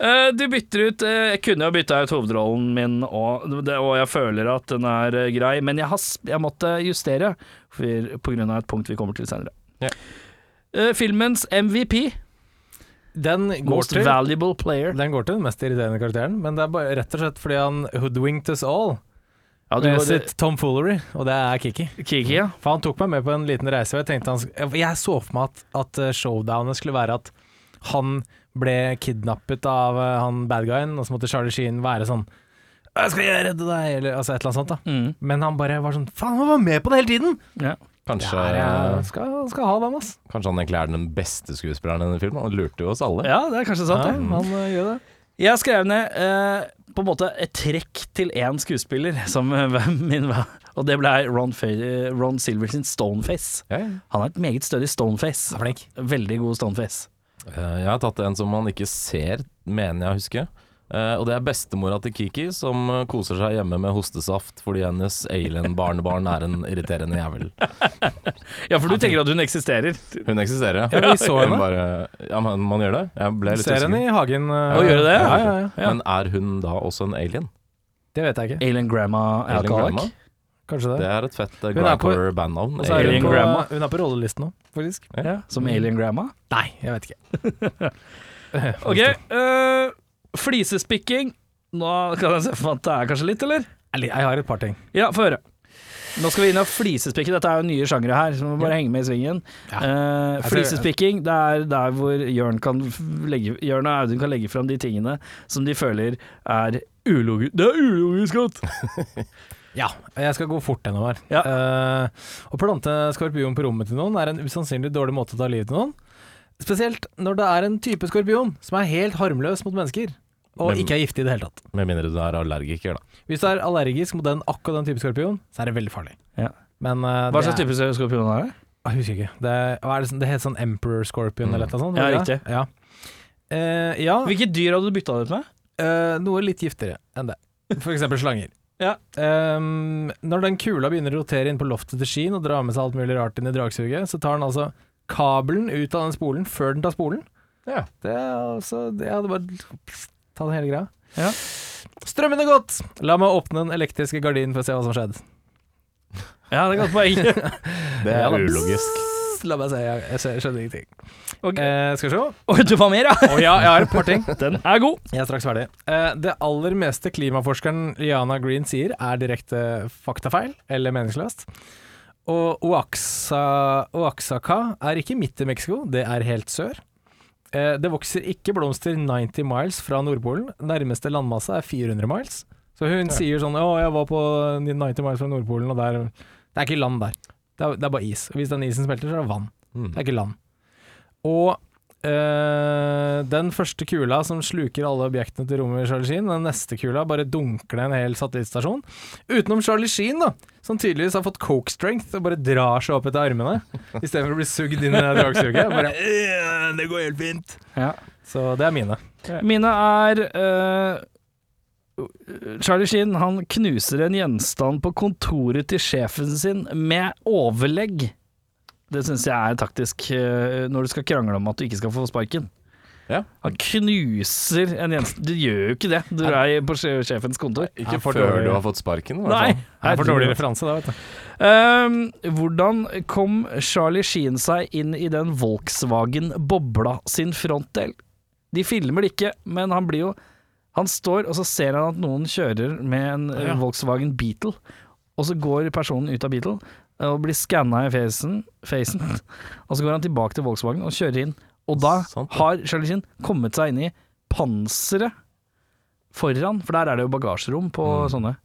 S1: Eh, du bytter ut eh, Jeg kunne jo bytta ut hovedrollen min, og, det, og jeg føler at den er eh, grei, men jeg, har, s- jeg måtte justere for, på grunn av et punkt vi kommer til senere.
S4: Ja.
S1: Eh, filmens MVP,
S2: Den går
S1: Most
S2: til
S1: Valuable Player.
S2: Den går til den mest irriterende karakteren, men det er bare rett og slett fordi han hoodwinked us all
S1: Ja, du
S2: med
S1: var
S2: sitt tomfoolery, og det er Kiki.
S1: Kiki, ja.
S2: For han tok meg med på en liten reise, og jeg tenkte han sk- Jeg så for meg at, at eh, showdownet skulle være at han ble kidnappet av eh, han badguyen, og så måtte Charlie Sheen være sånn «Jeg skal jeg redde deg? Eller altså et eller annet sånt, da.
S1: Mm,
S2: Men han bare var sånn Faen, han var med på det hele tiden!
S1: ja.
S4: Kanskje,
S2: Der, ja,
S1: altså.
S2: skal, skal ha den, ass.
S4: kanskje han egentlig er den beste skuespilleren i denne filmen. Han lurte jo oss alle.
S1: ja, det er kanskje sant,
S2: Ja,
S1: det.
S2: han eh, gjør det.
S1: Jeg skrev ned eh, på en måte et trekk til én skuespiller, som eh, hvem min var, og det ble Ron, Fe Ron Silver sin Stoneface.
S4: Ja, ja.
S1: Han er et meget større Stoneface.
S2: Han er flink.
S1: Veldig god Stoneface.
S4: Eh, Jeg har tatt en som man ikke ser, mener jeg å huske. Eh, og det er bestemora til Kiki, som eh, koser seg hjemme med hostesaft fordi hennes alien-barnebarn er en irriterende jævel.
S1: Ja, for du tenker at hun eksisterer?
S4: Hun eksisterer, ja.
S2: Ja, vi så henne.
S4: Hun bare, ja, men man gjør det. Jeg ble litt
S2: Ser henne
S4: usikker.
S2: i hagen. eh,
S1: Å, gjør du det?
S2: Ja, ja, ja.
S1: Ja.
S4: Men er hun da også en alien?
S2: Det vet jeg ikke.
S1: Alien Grandma
S4: Alien
S1: Alcoholic.
S4: Grandma?
S2: Kanskje det.
S4: Det er et fett uh,
S2: Hun er på- Og
S4: bandnavn
S2: så er
S1: Alien
S2: hun på,
S1: Grandma.
S2: hun er på rollelisten nå, faktisk.
S1: Ja, som Alien Grandma.
S2: Nei, jeg vet ikke.
S1: Ok, eh, flisespikking. Nå kan jeg se for meg at det er kanskje litt, eller?
S2: Eller, Jeg har et par ting.
S1: Ja, få høre. Nå skal vi inn og flisespikke. Dette er jo nye sjangere her, så vi må bare henge med i svingen. Eh,
S2: Jeg tror-
S1: flisespikking, det er der hvor Jørn, kan f- legge, Jørn og Audun kan legge fram de tingene som de føler er ulogisk Det er ulogisk godt!
S2: Ja, jeg skal gå fort gjennom her.
S1: Ja.
S2: Eh, å plante skorpion på rommet til noen er en usannsynlig dårlig måte å ta livet til noen. Spesielt når det er en type skorpion som er helt harmløs mot mennesker, og
S4: Men-
S2: ikke er giftig i det hele tatt.
S4: Med mindre du er allergiker, da.
S2: Hvis du er allergisk mot den akkurat den type skorpion, så er det veldig farlig.
S1: Ja.
S2: Men eh,
S1: Hva
S2: det
S1: slags
S2: er-
S1: type skorpion er det?
S2: Jeg husker ikke. Det, hva er det, som- det heter sånn Emperor Scorpion
S4: Mm.
S2: eller noe sånt?
S1: Ja,
S2: var det det? Ja. Eh, ja.
S1: Hvilke dyr hadde du bytta det ut med?
S2: Eh, noe litt giftigere enn det. For eksempel slanger.
S1: Ja.
S2: Ehm, når den kula begynner å rotere inn på loftet til skien og drar med seg alt mulig rart inn i dragsuget, så tar den altså kabelen ut av den spolen før den tar spolen.
S4: Ja.
S2: Det er altså det hadde bare Ta den hele greia.
S1: Ja.
S2: Strømmen er godt! La meg åpne den elektriske gardinen for å se hva som skjedde.
S1: Ja, det er et godt poeng.
S4: Det
S2: Ja,
S4: er
S2: da.
S4: ulogisk.
S2: La meg se, jeg, jeg skjø- skjønner ingenting.
S1: Ok.
S2: Eh, skal vi se.
S1: Oi, du var mer, ja!
S2: Å ja, jeg har et par ting.
S1: Den er god.
S2: Jeg er straks ferdig. Eh, det aller meste klimaforskeren Liana Green sier, er direkte faktafeil eller meningsløst. Og Oaxa, Oaxaca er ikke midt i Mexico, det er helt sør. Eh, det vokser ikke blomster 90 miles fra Nordpolen. Nærmeste landmasse er 400 miles. Så hun sier sånn 'Å, jeg var på 90 miles fra Nordpolen, og der Det er ikke land der. Det er, det er bare is. Og hvis den isen smelter, så er det vann.
S4: Mm.
S2: Det er ikke land. Og eh, den første kula som sluker alle objektene til rommet i Charlie Sheen, den neste kula bare dunker ned en hel satellittstasjon. Utenom Charlie Sheen, da, som tydeligvis har fått coke strength og bare drar seg opp etter armene istedenfor å bli sugd inn i det dragsuget. Bare, «Øh, det går helt fint.
S1: Ja.
S2: Så det er mine.
S1: Mine er eh, Charlie Sheen han knuser en gjenstand på kontoret til sjefen sin med overlegg. Det syns jeg er taktisk eh, når du skal krangle om at du ikke skal få sparken.
S4: Ja.
S1: Han knuser en gjenstand Du gjør jo ikke det. Du er på sje- sjefens kontor.
S2: Jeg
S4: Ikke
S2: er for
S4: før
S2: dårlig.
S4: du har fått sparken, i hvert
S1: Nei.
S4: fall.
S2: Det er for dårlig
S1: herregud.
S2: referanse, da, vet du.
S1: Ehm, hvordan kom Charlie Sheen seg inn i den Volkswagen Bobla sin frontdel? De filmer det ikke, men han blir jo Han står, og så ser han at noen kjører med en eh,
S4: Ja.
S1: Volkswagen Beetle, og så går personen ut av Beetle eh, og blir skanna i facen, facen, og så går han tilbake til Volkswagen og kjører inn Og da
S4: Sant det.
S1: har Charlie Sheen kommet seg inn i panseret foran, for der er det jo bagasjerom på sånne.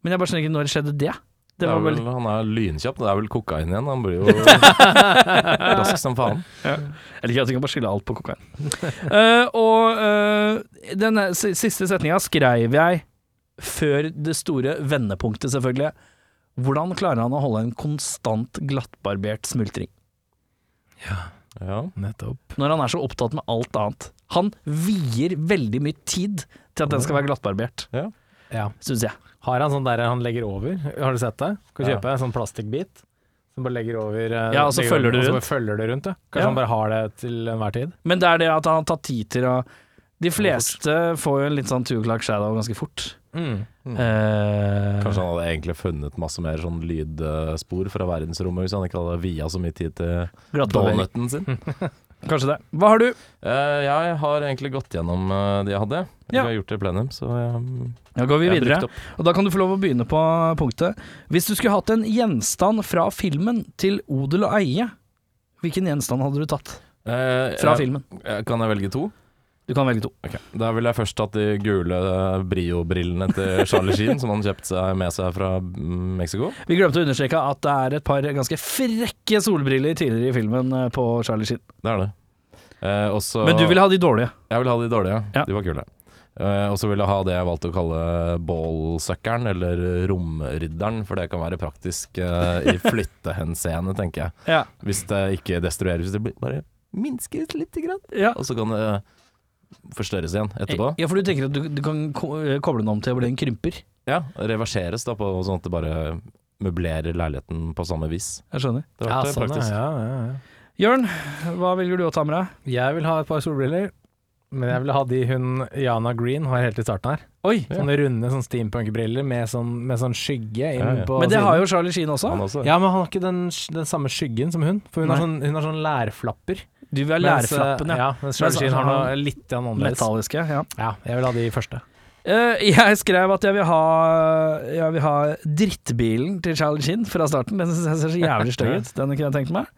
S1: Men jeg bare skjønner ikke når skjedde det. Det var vel
S4: Han Mm. er lynkjapp. Det er vel kokain igjen. Han blir jo rask som faen.
S1: Eller ikke at du kan bare skylde alt på kokain. Eh, og eh, den s- siste setninga skrev jeg før det store vendepunktet, selvfølgelig. Hvordan klarer han å holde en konstant glattbarbert smultring?
S4: Ja.
S2: Nettopp.
S1: Når han er så opptatt med alt annet. Han vier veldig mye tid til at den skal være glattbarbert,
S2: Ja.
S1: syns jeg.
S2: Har han sånn der han legger over? Har du sett det? Kan
S4: Ja.
S2: kjøpe en sånn plastikkbit som bare legger over eh,
S1: Ja, og så
S2: legger
S1: følger
S2: over,
S1: du
S2: og så
S1: rundt.
S2: bare følger du rundt. Ja. Kanskje
S1: Ja.
S2: han bare har det til enhver tid?
S1: Men det er det at han tar tid til å De fleste får jo en litt sånn two o'clock shadow ganske fort.
S2: Mm.
S4: Mm.
S1: Eh,
S4: Kanskje han hadde egentlig funnet masse mer sånn lydspor fra verdensrommet hvis han ikke hadde via så mye tid til
S1: glattbarbering.
S4: donuten sin.
S1: Kanskje det. Hva har du?
S4: Eh, jeg har egentlig gått gjennom eh, de jeg hadde. Jeg
S1: Ja.
S4: har gjort det i plenum, så jeg, mm,
S1: Da går vi
S4: jeg har
S1: videre.
S4: brukt opp.
S1: Og da kan du få lov å begynne på punktet. Hvis du skulle hatt en gjenstand fra filmen til odel og eie, hvilken gjenstand hadde du tatt
S4: Eh,
S1: fra
S4: jeg,
S1: filmen?
S4: jeg- Kan jeg velge to?
S1: Du kan velge to.
S4: Ok. Da ville jeg først tatt de gule eh, Brio-brillene til Charlie Sheen, som han kjøpte seg med seg fra mm, Mexico.
S1: Vi glemte å understreke at det er et par ganske frekke solbriller tidligere i filmen eh, på Charlie Sheen.
S4: Det er det. Eh, og så-
S1: Men du ville ha de dårlige.
S4: Jeg vil ha de dårlige.
S1: Ja.
S4: De var kule. Eh, og så vil jeg ha det jeg valgte å kalle ballsuckeren, eller romrydderen, for det kan være praktisk eh, i flyttehenseende, tenker jeg.
S1: Ja.
S4: Hvis det ikke destrueres, hvis det blir bare minskes lite grann,
S1: ja.
S4: og så kan det forstørres igjen etterpå.
S1: Ja, for du tenker at du, du kan ko eh, koble den om til å bli en krymper.
S4: Ja, reverseres da, på sånn at det bare møblerer leiligheten på samme vis.
S1: Jeg skjønner.
S4: Det har vært praktisk.
S2: ja, ja, ja.
S1: Jørn, hva velger du å ta med deg?
S2: Jeg vil ha et par solbriller, men jeg vil ha de hun Jana Green har helt i starten her.
S1: Oi,
S2: Sånne runde sånn steampunk-briller med, sånn, med sånn skygge inn
S4: Ja, ja.
S2: på
S1: men det
S2: siden.
S1: har jo Charlie Sheen også.
S4: Han også.
S2: Ja, men han har ikke den, den samme skyggen som hun, for hun har
S1: Nei.
S2: sånn, hun har sånn lærflapper.
S1: Du vil ha
S2: Mens,
S1: lærflappen,
S2: eh,
S1: ja.
S2: ja. Mens Charlie Sheen har noe litt grann annerledes.
S1: Metalliske. ja.
S2: Ja, jeg vil ha de første.
S1: Eh, jeg skrev at jeg vil ha, jeg vil ha drittbilen til Charlie Sheen fra starten. Den synes jeg ser så jævlig stygg ut. Den kunne jeg tenkt meg.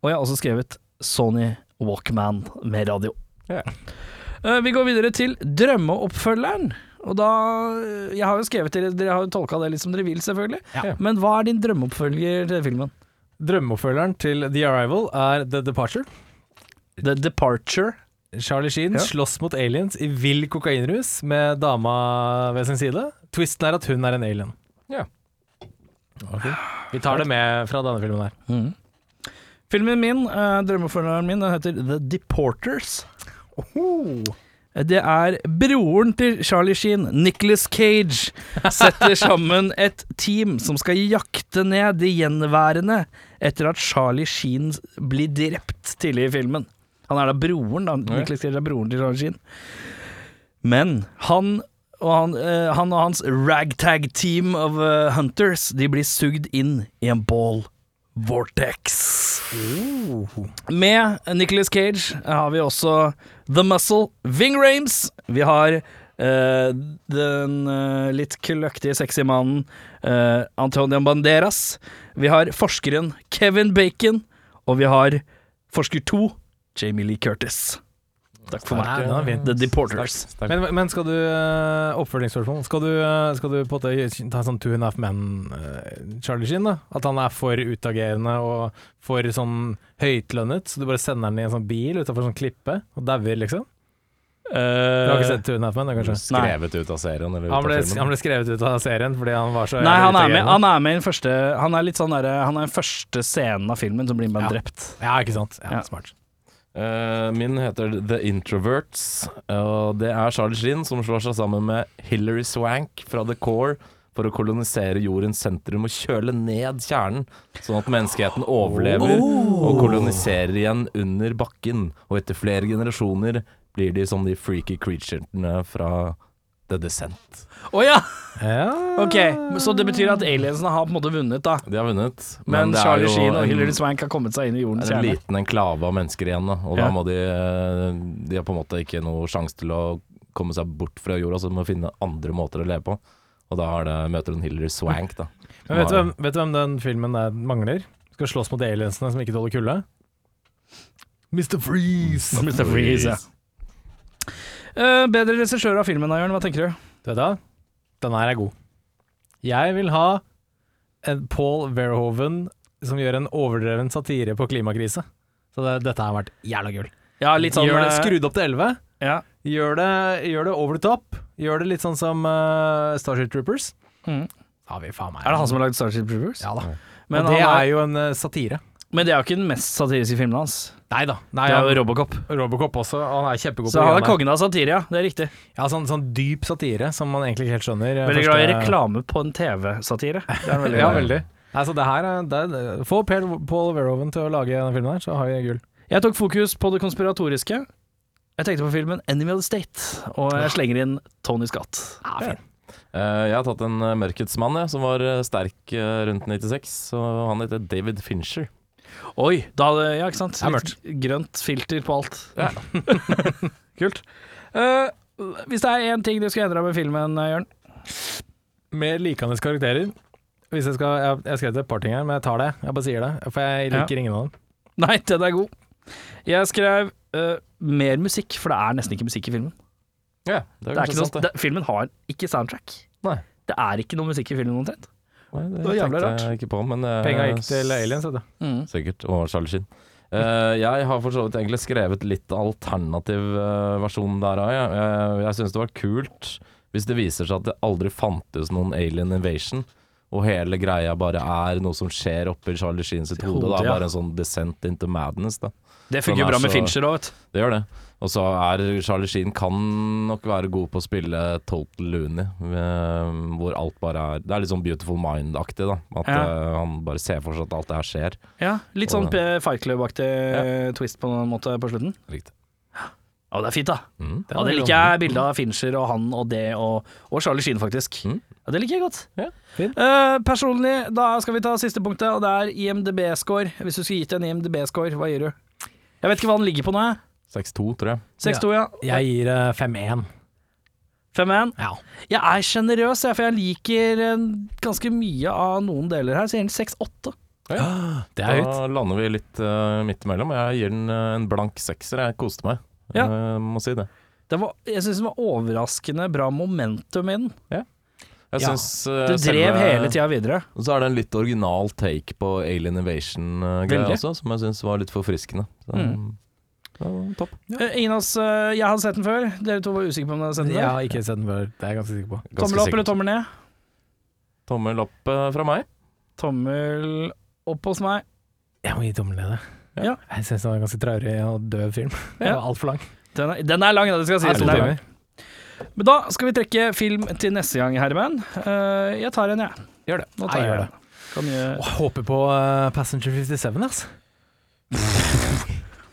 S1: Og jeg har også skrevet Sony Walkman med radio.
S4: Ja.
S1: Eh, vi går videre til drømmeoppfølgeren. Og da Jeg har jo skrevet til dere, dere har jo tolka det litt som dere vil, selvfølgelig.
S2: Ja.
S1: Men hva er din drømmeoppfølger til filmen?
S2: Drømmeoppfølgeren til The Arrival er The Departure.
S1: The Departure.
S2: Charlie Sheen
S1: Ja.
S2: slåss mot aliens i vill kokainrus med dama ved sin side. Twisten er at hun er en alien.
S4: Ja.
S2: Vi tar det med fra denne filmen her.
S1: Mm. Filmen min, eh, drømmeoppfølgeren min, den heter The Deporters. Det er broren til Charlie Sheen, Nicholas Cage, setter sammen et team som skal jakte ned de gjenværende etter at Charlie Sheen blir drept tidlig i filmen. Han er da broren, da. Nicholas Cage er broren til Charlie Sheen. Men han og, han, eh, han og hans ragtag team of eh, hunters De blir sugd inn i en ball vortex. Med Nicolas Cage har vi også The Muscle, Ving Rames. Vi har eh, den eh, litt kløktige, sexy mannen eh, Antonio Banderas. Vi har forskeren Kevin Bacon. Og vi har forsker 2, Jamie Lee Curtis. Takk for
S2: Nei, den
S1: meg.
S2: var fin.
S1: The Deporters.
S4: Sterk.
S2: Men, men skal du øh, Oppfølgingsspørsmål. Skal du, øh, skal du på en måte ta sånn two and a half men øh, Charlie Sheen, da? At han er for utagerende og for sånn høytlønnet, så du bare sender han i en sånn bil utafor sånn klippe og dauer, liksom? Du
S1: Eh,
S2: har ikke sett two and a half men, da, kanskje?
S4: Skrevet ut av serien, eller ut
S2: Han
S4: av
S2: ble,
S4: filmen.
S2: han ble skrevet ut av serien fordi han var så
S1: Eh, Nei, han er, med,
S2: utagerende.
S1: han er med i den første Han er litt sånn derre Han er den første scenen av filmen som blir med
S2: Ja.
S1: drept.
S2: Ja, ikke sant. Ja,
S1: Ja.
S2: Smart.
S4: Eh, min heter The Introverts. og det er Charlie Sheen som slår seg sammen med Hilary Swank fra The Core for å kolonisere jordens sentrum og kjøle ned kjernen, sånn at menneskeheten overlever
S2: Oh.
S1: Oh!
S4: og koloniserer igjen under bakken. Og etter flere generasjoner blir de som de freaky creaturene fra The Descent.
S1: Å ja!
S2: Ja.
S1: Ok, så det betyr at aliensene har på en måte vunnet, da.
S4: De har vunnet,
S1: Men,
S4: det er
S1: Charlie
S4: jo
S1: Sheen og
S4: en-
S1: Hilary Swank har kommet seg inn i
S4: Det
S1: jordens
S4: er en
S1: kjerne.
S4: liten enklave av mennesker igjen, da. og
S1: Ja.
S4: da må de eh, De har på en måte ikke noe sjanse til å komme seg bort fra jorda, så de må finne andre måter å leve på. Og da har det, møter hun Hillary Swank, da.
S2: Men vet du, hvem, vet du hvem den filmen der mangler? Skal slåss mot aliensene som ikke tåler kulde? Mr. Freeze!
S1: Mr. Freeze, ja. Eh, bedre regissør av filmen, da, Jørn. Hva tenker du?
S2: Du vet da, den her er god. Jeg vil ha en Paul Verhoeven som gjør en overdreven satire på klimakrisa. Så det, dette har vært jævla gull.
S1: Ja, litt sånn
S2: gjør det
S1: eh,
S2: skrudd opp til 11.
S1: Ja.
S2: Gjør det, gjør det over the top. Gjør det litt sånn som eh, Starship Troopers.
S1: Mm.
S2: Da har vi faen meg
S1: Er det han som har lagd Starship Troopers?
S2: Ja da.
S1: Men,
S2: Og det
S1: han
S2: er
S1: er,
S2: jo en eh, satire.
S1: men det er jo ikke den mest satiriske filmen hans.
S2: Nei da. Nei,
S1: Det er jo
S2: han-
S1: Robocop.
S2: Robocop også. Han er kjempegod
S1: Så han er
S2: greiene.
S1: kongen av satire, ja. Det er riktig.
S2: Ja, sånn, sånn dyp satire som man egentlig ikke helt skjønner. eh,
S1: Veldig glad i
S2: første-
S1: reklame på en TV-satire. Det er han veldig glad
S2: Ja,
S1: i.
S2: veldig. Nei, så det her er, det er, Få Per, Paul Verhoeven til å lage denne filmen her, så har vi gull.
S1: Jeg tok fokus på det konspiratoriske. Jeg tenkte på filmen 'Enemy of the State', og jeg slenger inn Tony Scott.
S4: Eh, jeg har tatt en eh, Mørkets mann, jeg, som var eh, sterk eh, rundt 96. Så han heter David Fincher.
S1: Oi! Da, hadde- ja, ikke sant?
S2: er
S1: Litt grønt filter på alt. Kult. Eh, hvis det er én ting du skulle endra med filmen, eh, Jørn
S2: Med likende karakterer. Hvis jeg skal Jeg jeg har skrevet et par ting her, men jeg tar det. Jeg bare sier det. For jeg liker ingen av dem.
S1: Nei, den er god. Jeg skrev eh, mer musikk, for det er nesten ikke musikk i filmen.
S4: Ja, det
S1: Det
S4: er
S1: er
S4: kanskje
S1: ikke noe,
S4: sant, det.
S1: det, filmen har ikke soundtrack.
S4: Nei.
S1: Det er ikke noe musikk i filmen omtrent.
S4: Nei, det,
S1: var jævla
S4: tenkte jeg ikke på, men eh,
S2: Penga gikk til aliens, vet du.
S1: Mm.
S4: Sikkert. Og Charlie Sheen. Eh, jeg har for så vidt egentlig skrevet litt alternativ eh, versjon der òg. Jeg, Eh, jeg syns det var kult hvis det viser seg at det aldri fantes noen alien invasion, og hele greia bare er noe som skjer oppi Charlie Sheen sitt hode.
S1: Hodet,
S4: da.
S1: ja.
S4: Bare en sånn descent into madness. da
S1: Det
S4: Den
S1: funker
S4: er
S1: bra med
S4: så-
S1: Fincher òg, vet du.
S4: Det gjør det. Og så er Charlie Sheen kan nok være god på å spille Total Loony, eh, hvor alt bare er Det er litt sånn Beautiful Mind-aktig, da. At
S1: Ja.
S4: eh, han bare ser for seg at alt det her skjer.
S1: Ja, litt sånn P- Fight Club-aktig eh, twist på en måte på slutten.
S4: Riktig.
S1: Ja, det er fint, da.
S4: Mm.
S1: Ja, Det liker jeg. Bildet av Fincher og han og det, og, og Charlie Sheen, faktisk.
S4: Mm.
S1: Ja, Det liker jeg godt.
S4: Ja,
S1: Eh, personlig, da skal vi ta siste punktet, og det er IMDb-score. Hvis du skulle gitt en IMDb-score, hva gir du? Jeg vet ikke hva den ligger på nå. jeg.
S4: 6-2, tror jeg.
S1: 6-2, ja.
S2: Jeg gir eh, 5-1.
S1: 5-1.
S2: Ja.
S1: Jeg er sjenerøs, jeg, for jeg liker eh, ganske mye av noen deler her, så jeg gir den 6-8.
S2: Det
S4: Da
S2: er høyt.
S4: lander vi litt eh, midt imellom. Jeg gir den eh, en blank sekser. Jeg koste meg,
S1: Ja.
S4: Eh, må si det.
S1: Den var, jeg syns den var overraskende bra momentum i den.
S4: Jeg
S2: Ja.
S4: synes, eh,
S1: Det drev
S4: selve-
S1: hele tida videre.
S4: Og så er det en litt original take på Alien Invasion-greia
S1: Veldig.
S4: også, som jeg syns var litt forfriskende. Så,
S1: Mm.
S4: ja, topp.
S1: Eh, Ingen av oss eh, Jeg hadde sett den før. Dere to var usikre på om dere hadde sett den.
S2: Jeg
S1: før
S2: har ikke sett den før, det er jeg ganske sikker på.
S4: Ganske
S1: Tommel opp
S4: sikkert.
S1: eller tommel ned?
S4: Tommel opp eh, fra meg.
S1: Tommel opp hos meg.
S2: Jeg må gi tommelen til det.
S1: Ja.
S2: Jeg syns det var en ganske traurig og døv film. Den
S1: Ja.
S2: var altfor lang. Altså,
S1: Den er, den er lang, da, det skal
S2: Det er
S1: sies.
S2: to
S1: Den er lang.
S2: timer.
S1: Men da skal vi trekke film til neste gang, Herman. Eh, jeg tar en, jeg.
S2: Gjør det.
S1: Nå
S2: Nei,
S1: tar jeg
S2: gjør det.
S1: en. Kan gjøre-
S2: Å, håper på eh, Passenger 57, ass.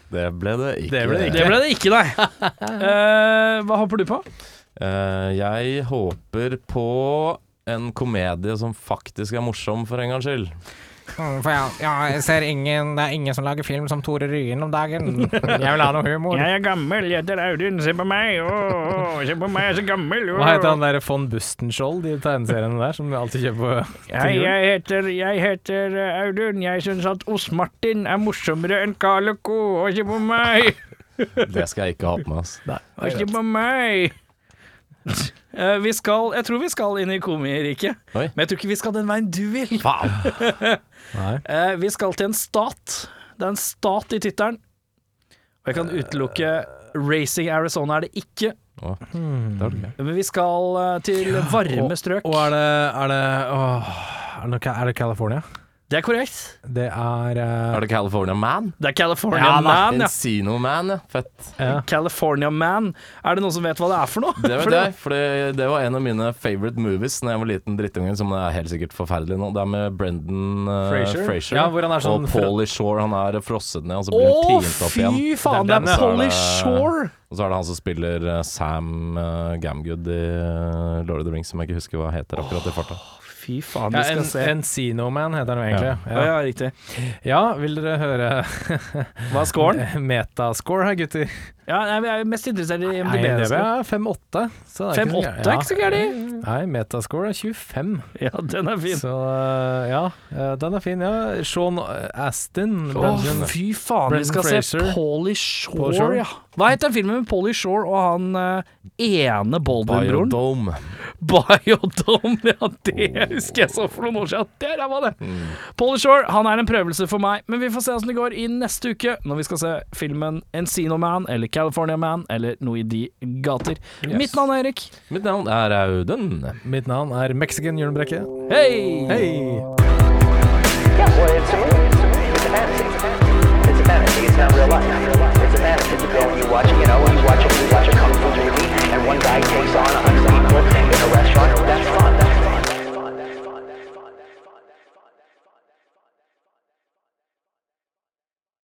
S4: Det ble det ikke.
S2: Det ble det
S1: Det ble det ikke, nei. Eh, hva håper du på?
S4: Eh, jeg håper på en komedie som faktisk er morsom, for en gangs skyld.
S5: Mm, For jeg, jeg ser ingen Det er ingen som lager film som Tore Ryen om dagen. Jeg vil ha noe humor.
S6: Jeg er gammel, jeg heter Audun, se på meg, åh, se på meg, jeg er så gammel. åh.
S2: Hva heter han der von Bustenskjold, de tegneseriene der, som vi alltid kjøper på
S6: Hei, jeg heter, jeg heter eh, Audun, jeg synes at Os Martin er morsommere enn Karl og Co. Åh, se på meg,
S4: Det skal jeg ikke ha på meg. ass.
S6: åh, se på meg.
S1: Eh, vi skal, jeg tror vi skal inn i komiriket,
S4: Oi.
S1: men jeg tror ikke vi skal den veien du vil.
S2: Nei.
S1: Eh, vi skal til en stat. Det er en stat i tittelen. Og jeg kan utelukke Racing Arizona er det ikke,
S4: Å, det var det gøy.
S1: men vi skal eh, til varme strøk.
S2: Og er det Er det, åh, er det, noe- er det California?
S1: Det er korrekt.
S2: Det er, eh,
S4: Er det California Man?
S1: Det er California Man, ja.
S4: Encino Man, ja. Fett.
S2: ja.
S1: California Man. Er det noen som vet hva det er for noe?
S4: Det
S1: For
S4: vet jeg, for det, det var en av mine favorite movies Når jeg var liten drittunge, som er helt sikkert forferdelig nå. Det er med Brendan eh,
S2: Fraser?
S4: Fraser,
S2: Ja, hvor han er sånn
S4: og
S2: fra-
S4: Pauly Shore. Han er frosset ned, og så
S1: Å,
S4: blir han tint opp igjen.
S1: fy faen! Det
S2: den,
S1: er
S2: ja.
S1: Polly
S4: Så er det-
S1: Shore!
S4: Og så er det han som spiller eh, Sam eh, Gamgood i eh, Lord of the Rings, som jeg ikke husker hva heter akkurat i farta.
S1: Fy faen,
S2: Ja,
S1: vi skal
S2: en,
S1: se.
S2: Encino Man heter den jo egentlig.
S1: ja.
S2: Ja.
S1: ja, riktig.
S2: ja, vil dere høre
S1: Hva er scoren?
S2: metascore her, gutter?
S1: Ja, nei, vi er mest interessert i
S2: Nei,
S1: MDB.
S2: det er 5-8. så det er ikke så
S1: 5-8
S2: gærent.
S1: er ikke så gærlig.
S2: Ja. Nei, metascore er 25.
S1: Ja, den er fin.
S2: Så eh, ja, eh, den er fin, ja. Sean Astin.
S1: Å,
S2: Brendan-
S1: fy faen, vi
S2: Brendan
S1: skal
S2: Fraser.
S1: se Pauly Shore,
S2: Pauly Shore.
S1: ja. Hva het den filmen med Pauly Shore og han eh, ene Baldwin-broren?
S4: Biodome.
S1: Biodome, ja, det husker jeg så for noen år siden. Der var det!
S2: Mm.
S1: Pauly Shore, han er en prøvelse for meg, men vi får se hvordan det går i neste uke, når vi skal se filmen Encino Man eller California Man eller noe i de gater. Mitt navn er Erik.
S4: Mitt navn er Audun.
S2: Mitt navn er Mexican Jørn Brekke.
S1: Hei!
S2: Hei!
S3: Yeah, well, it's a movie. It's a movie. It's a fantasy. It's a fantasy. It's a fantasy. It's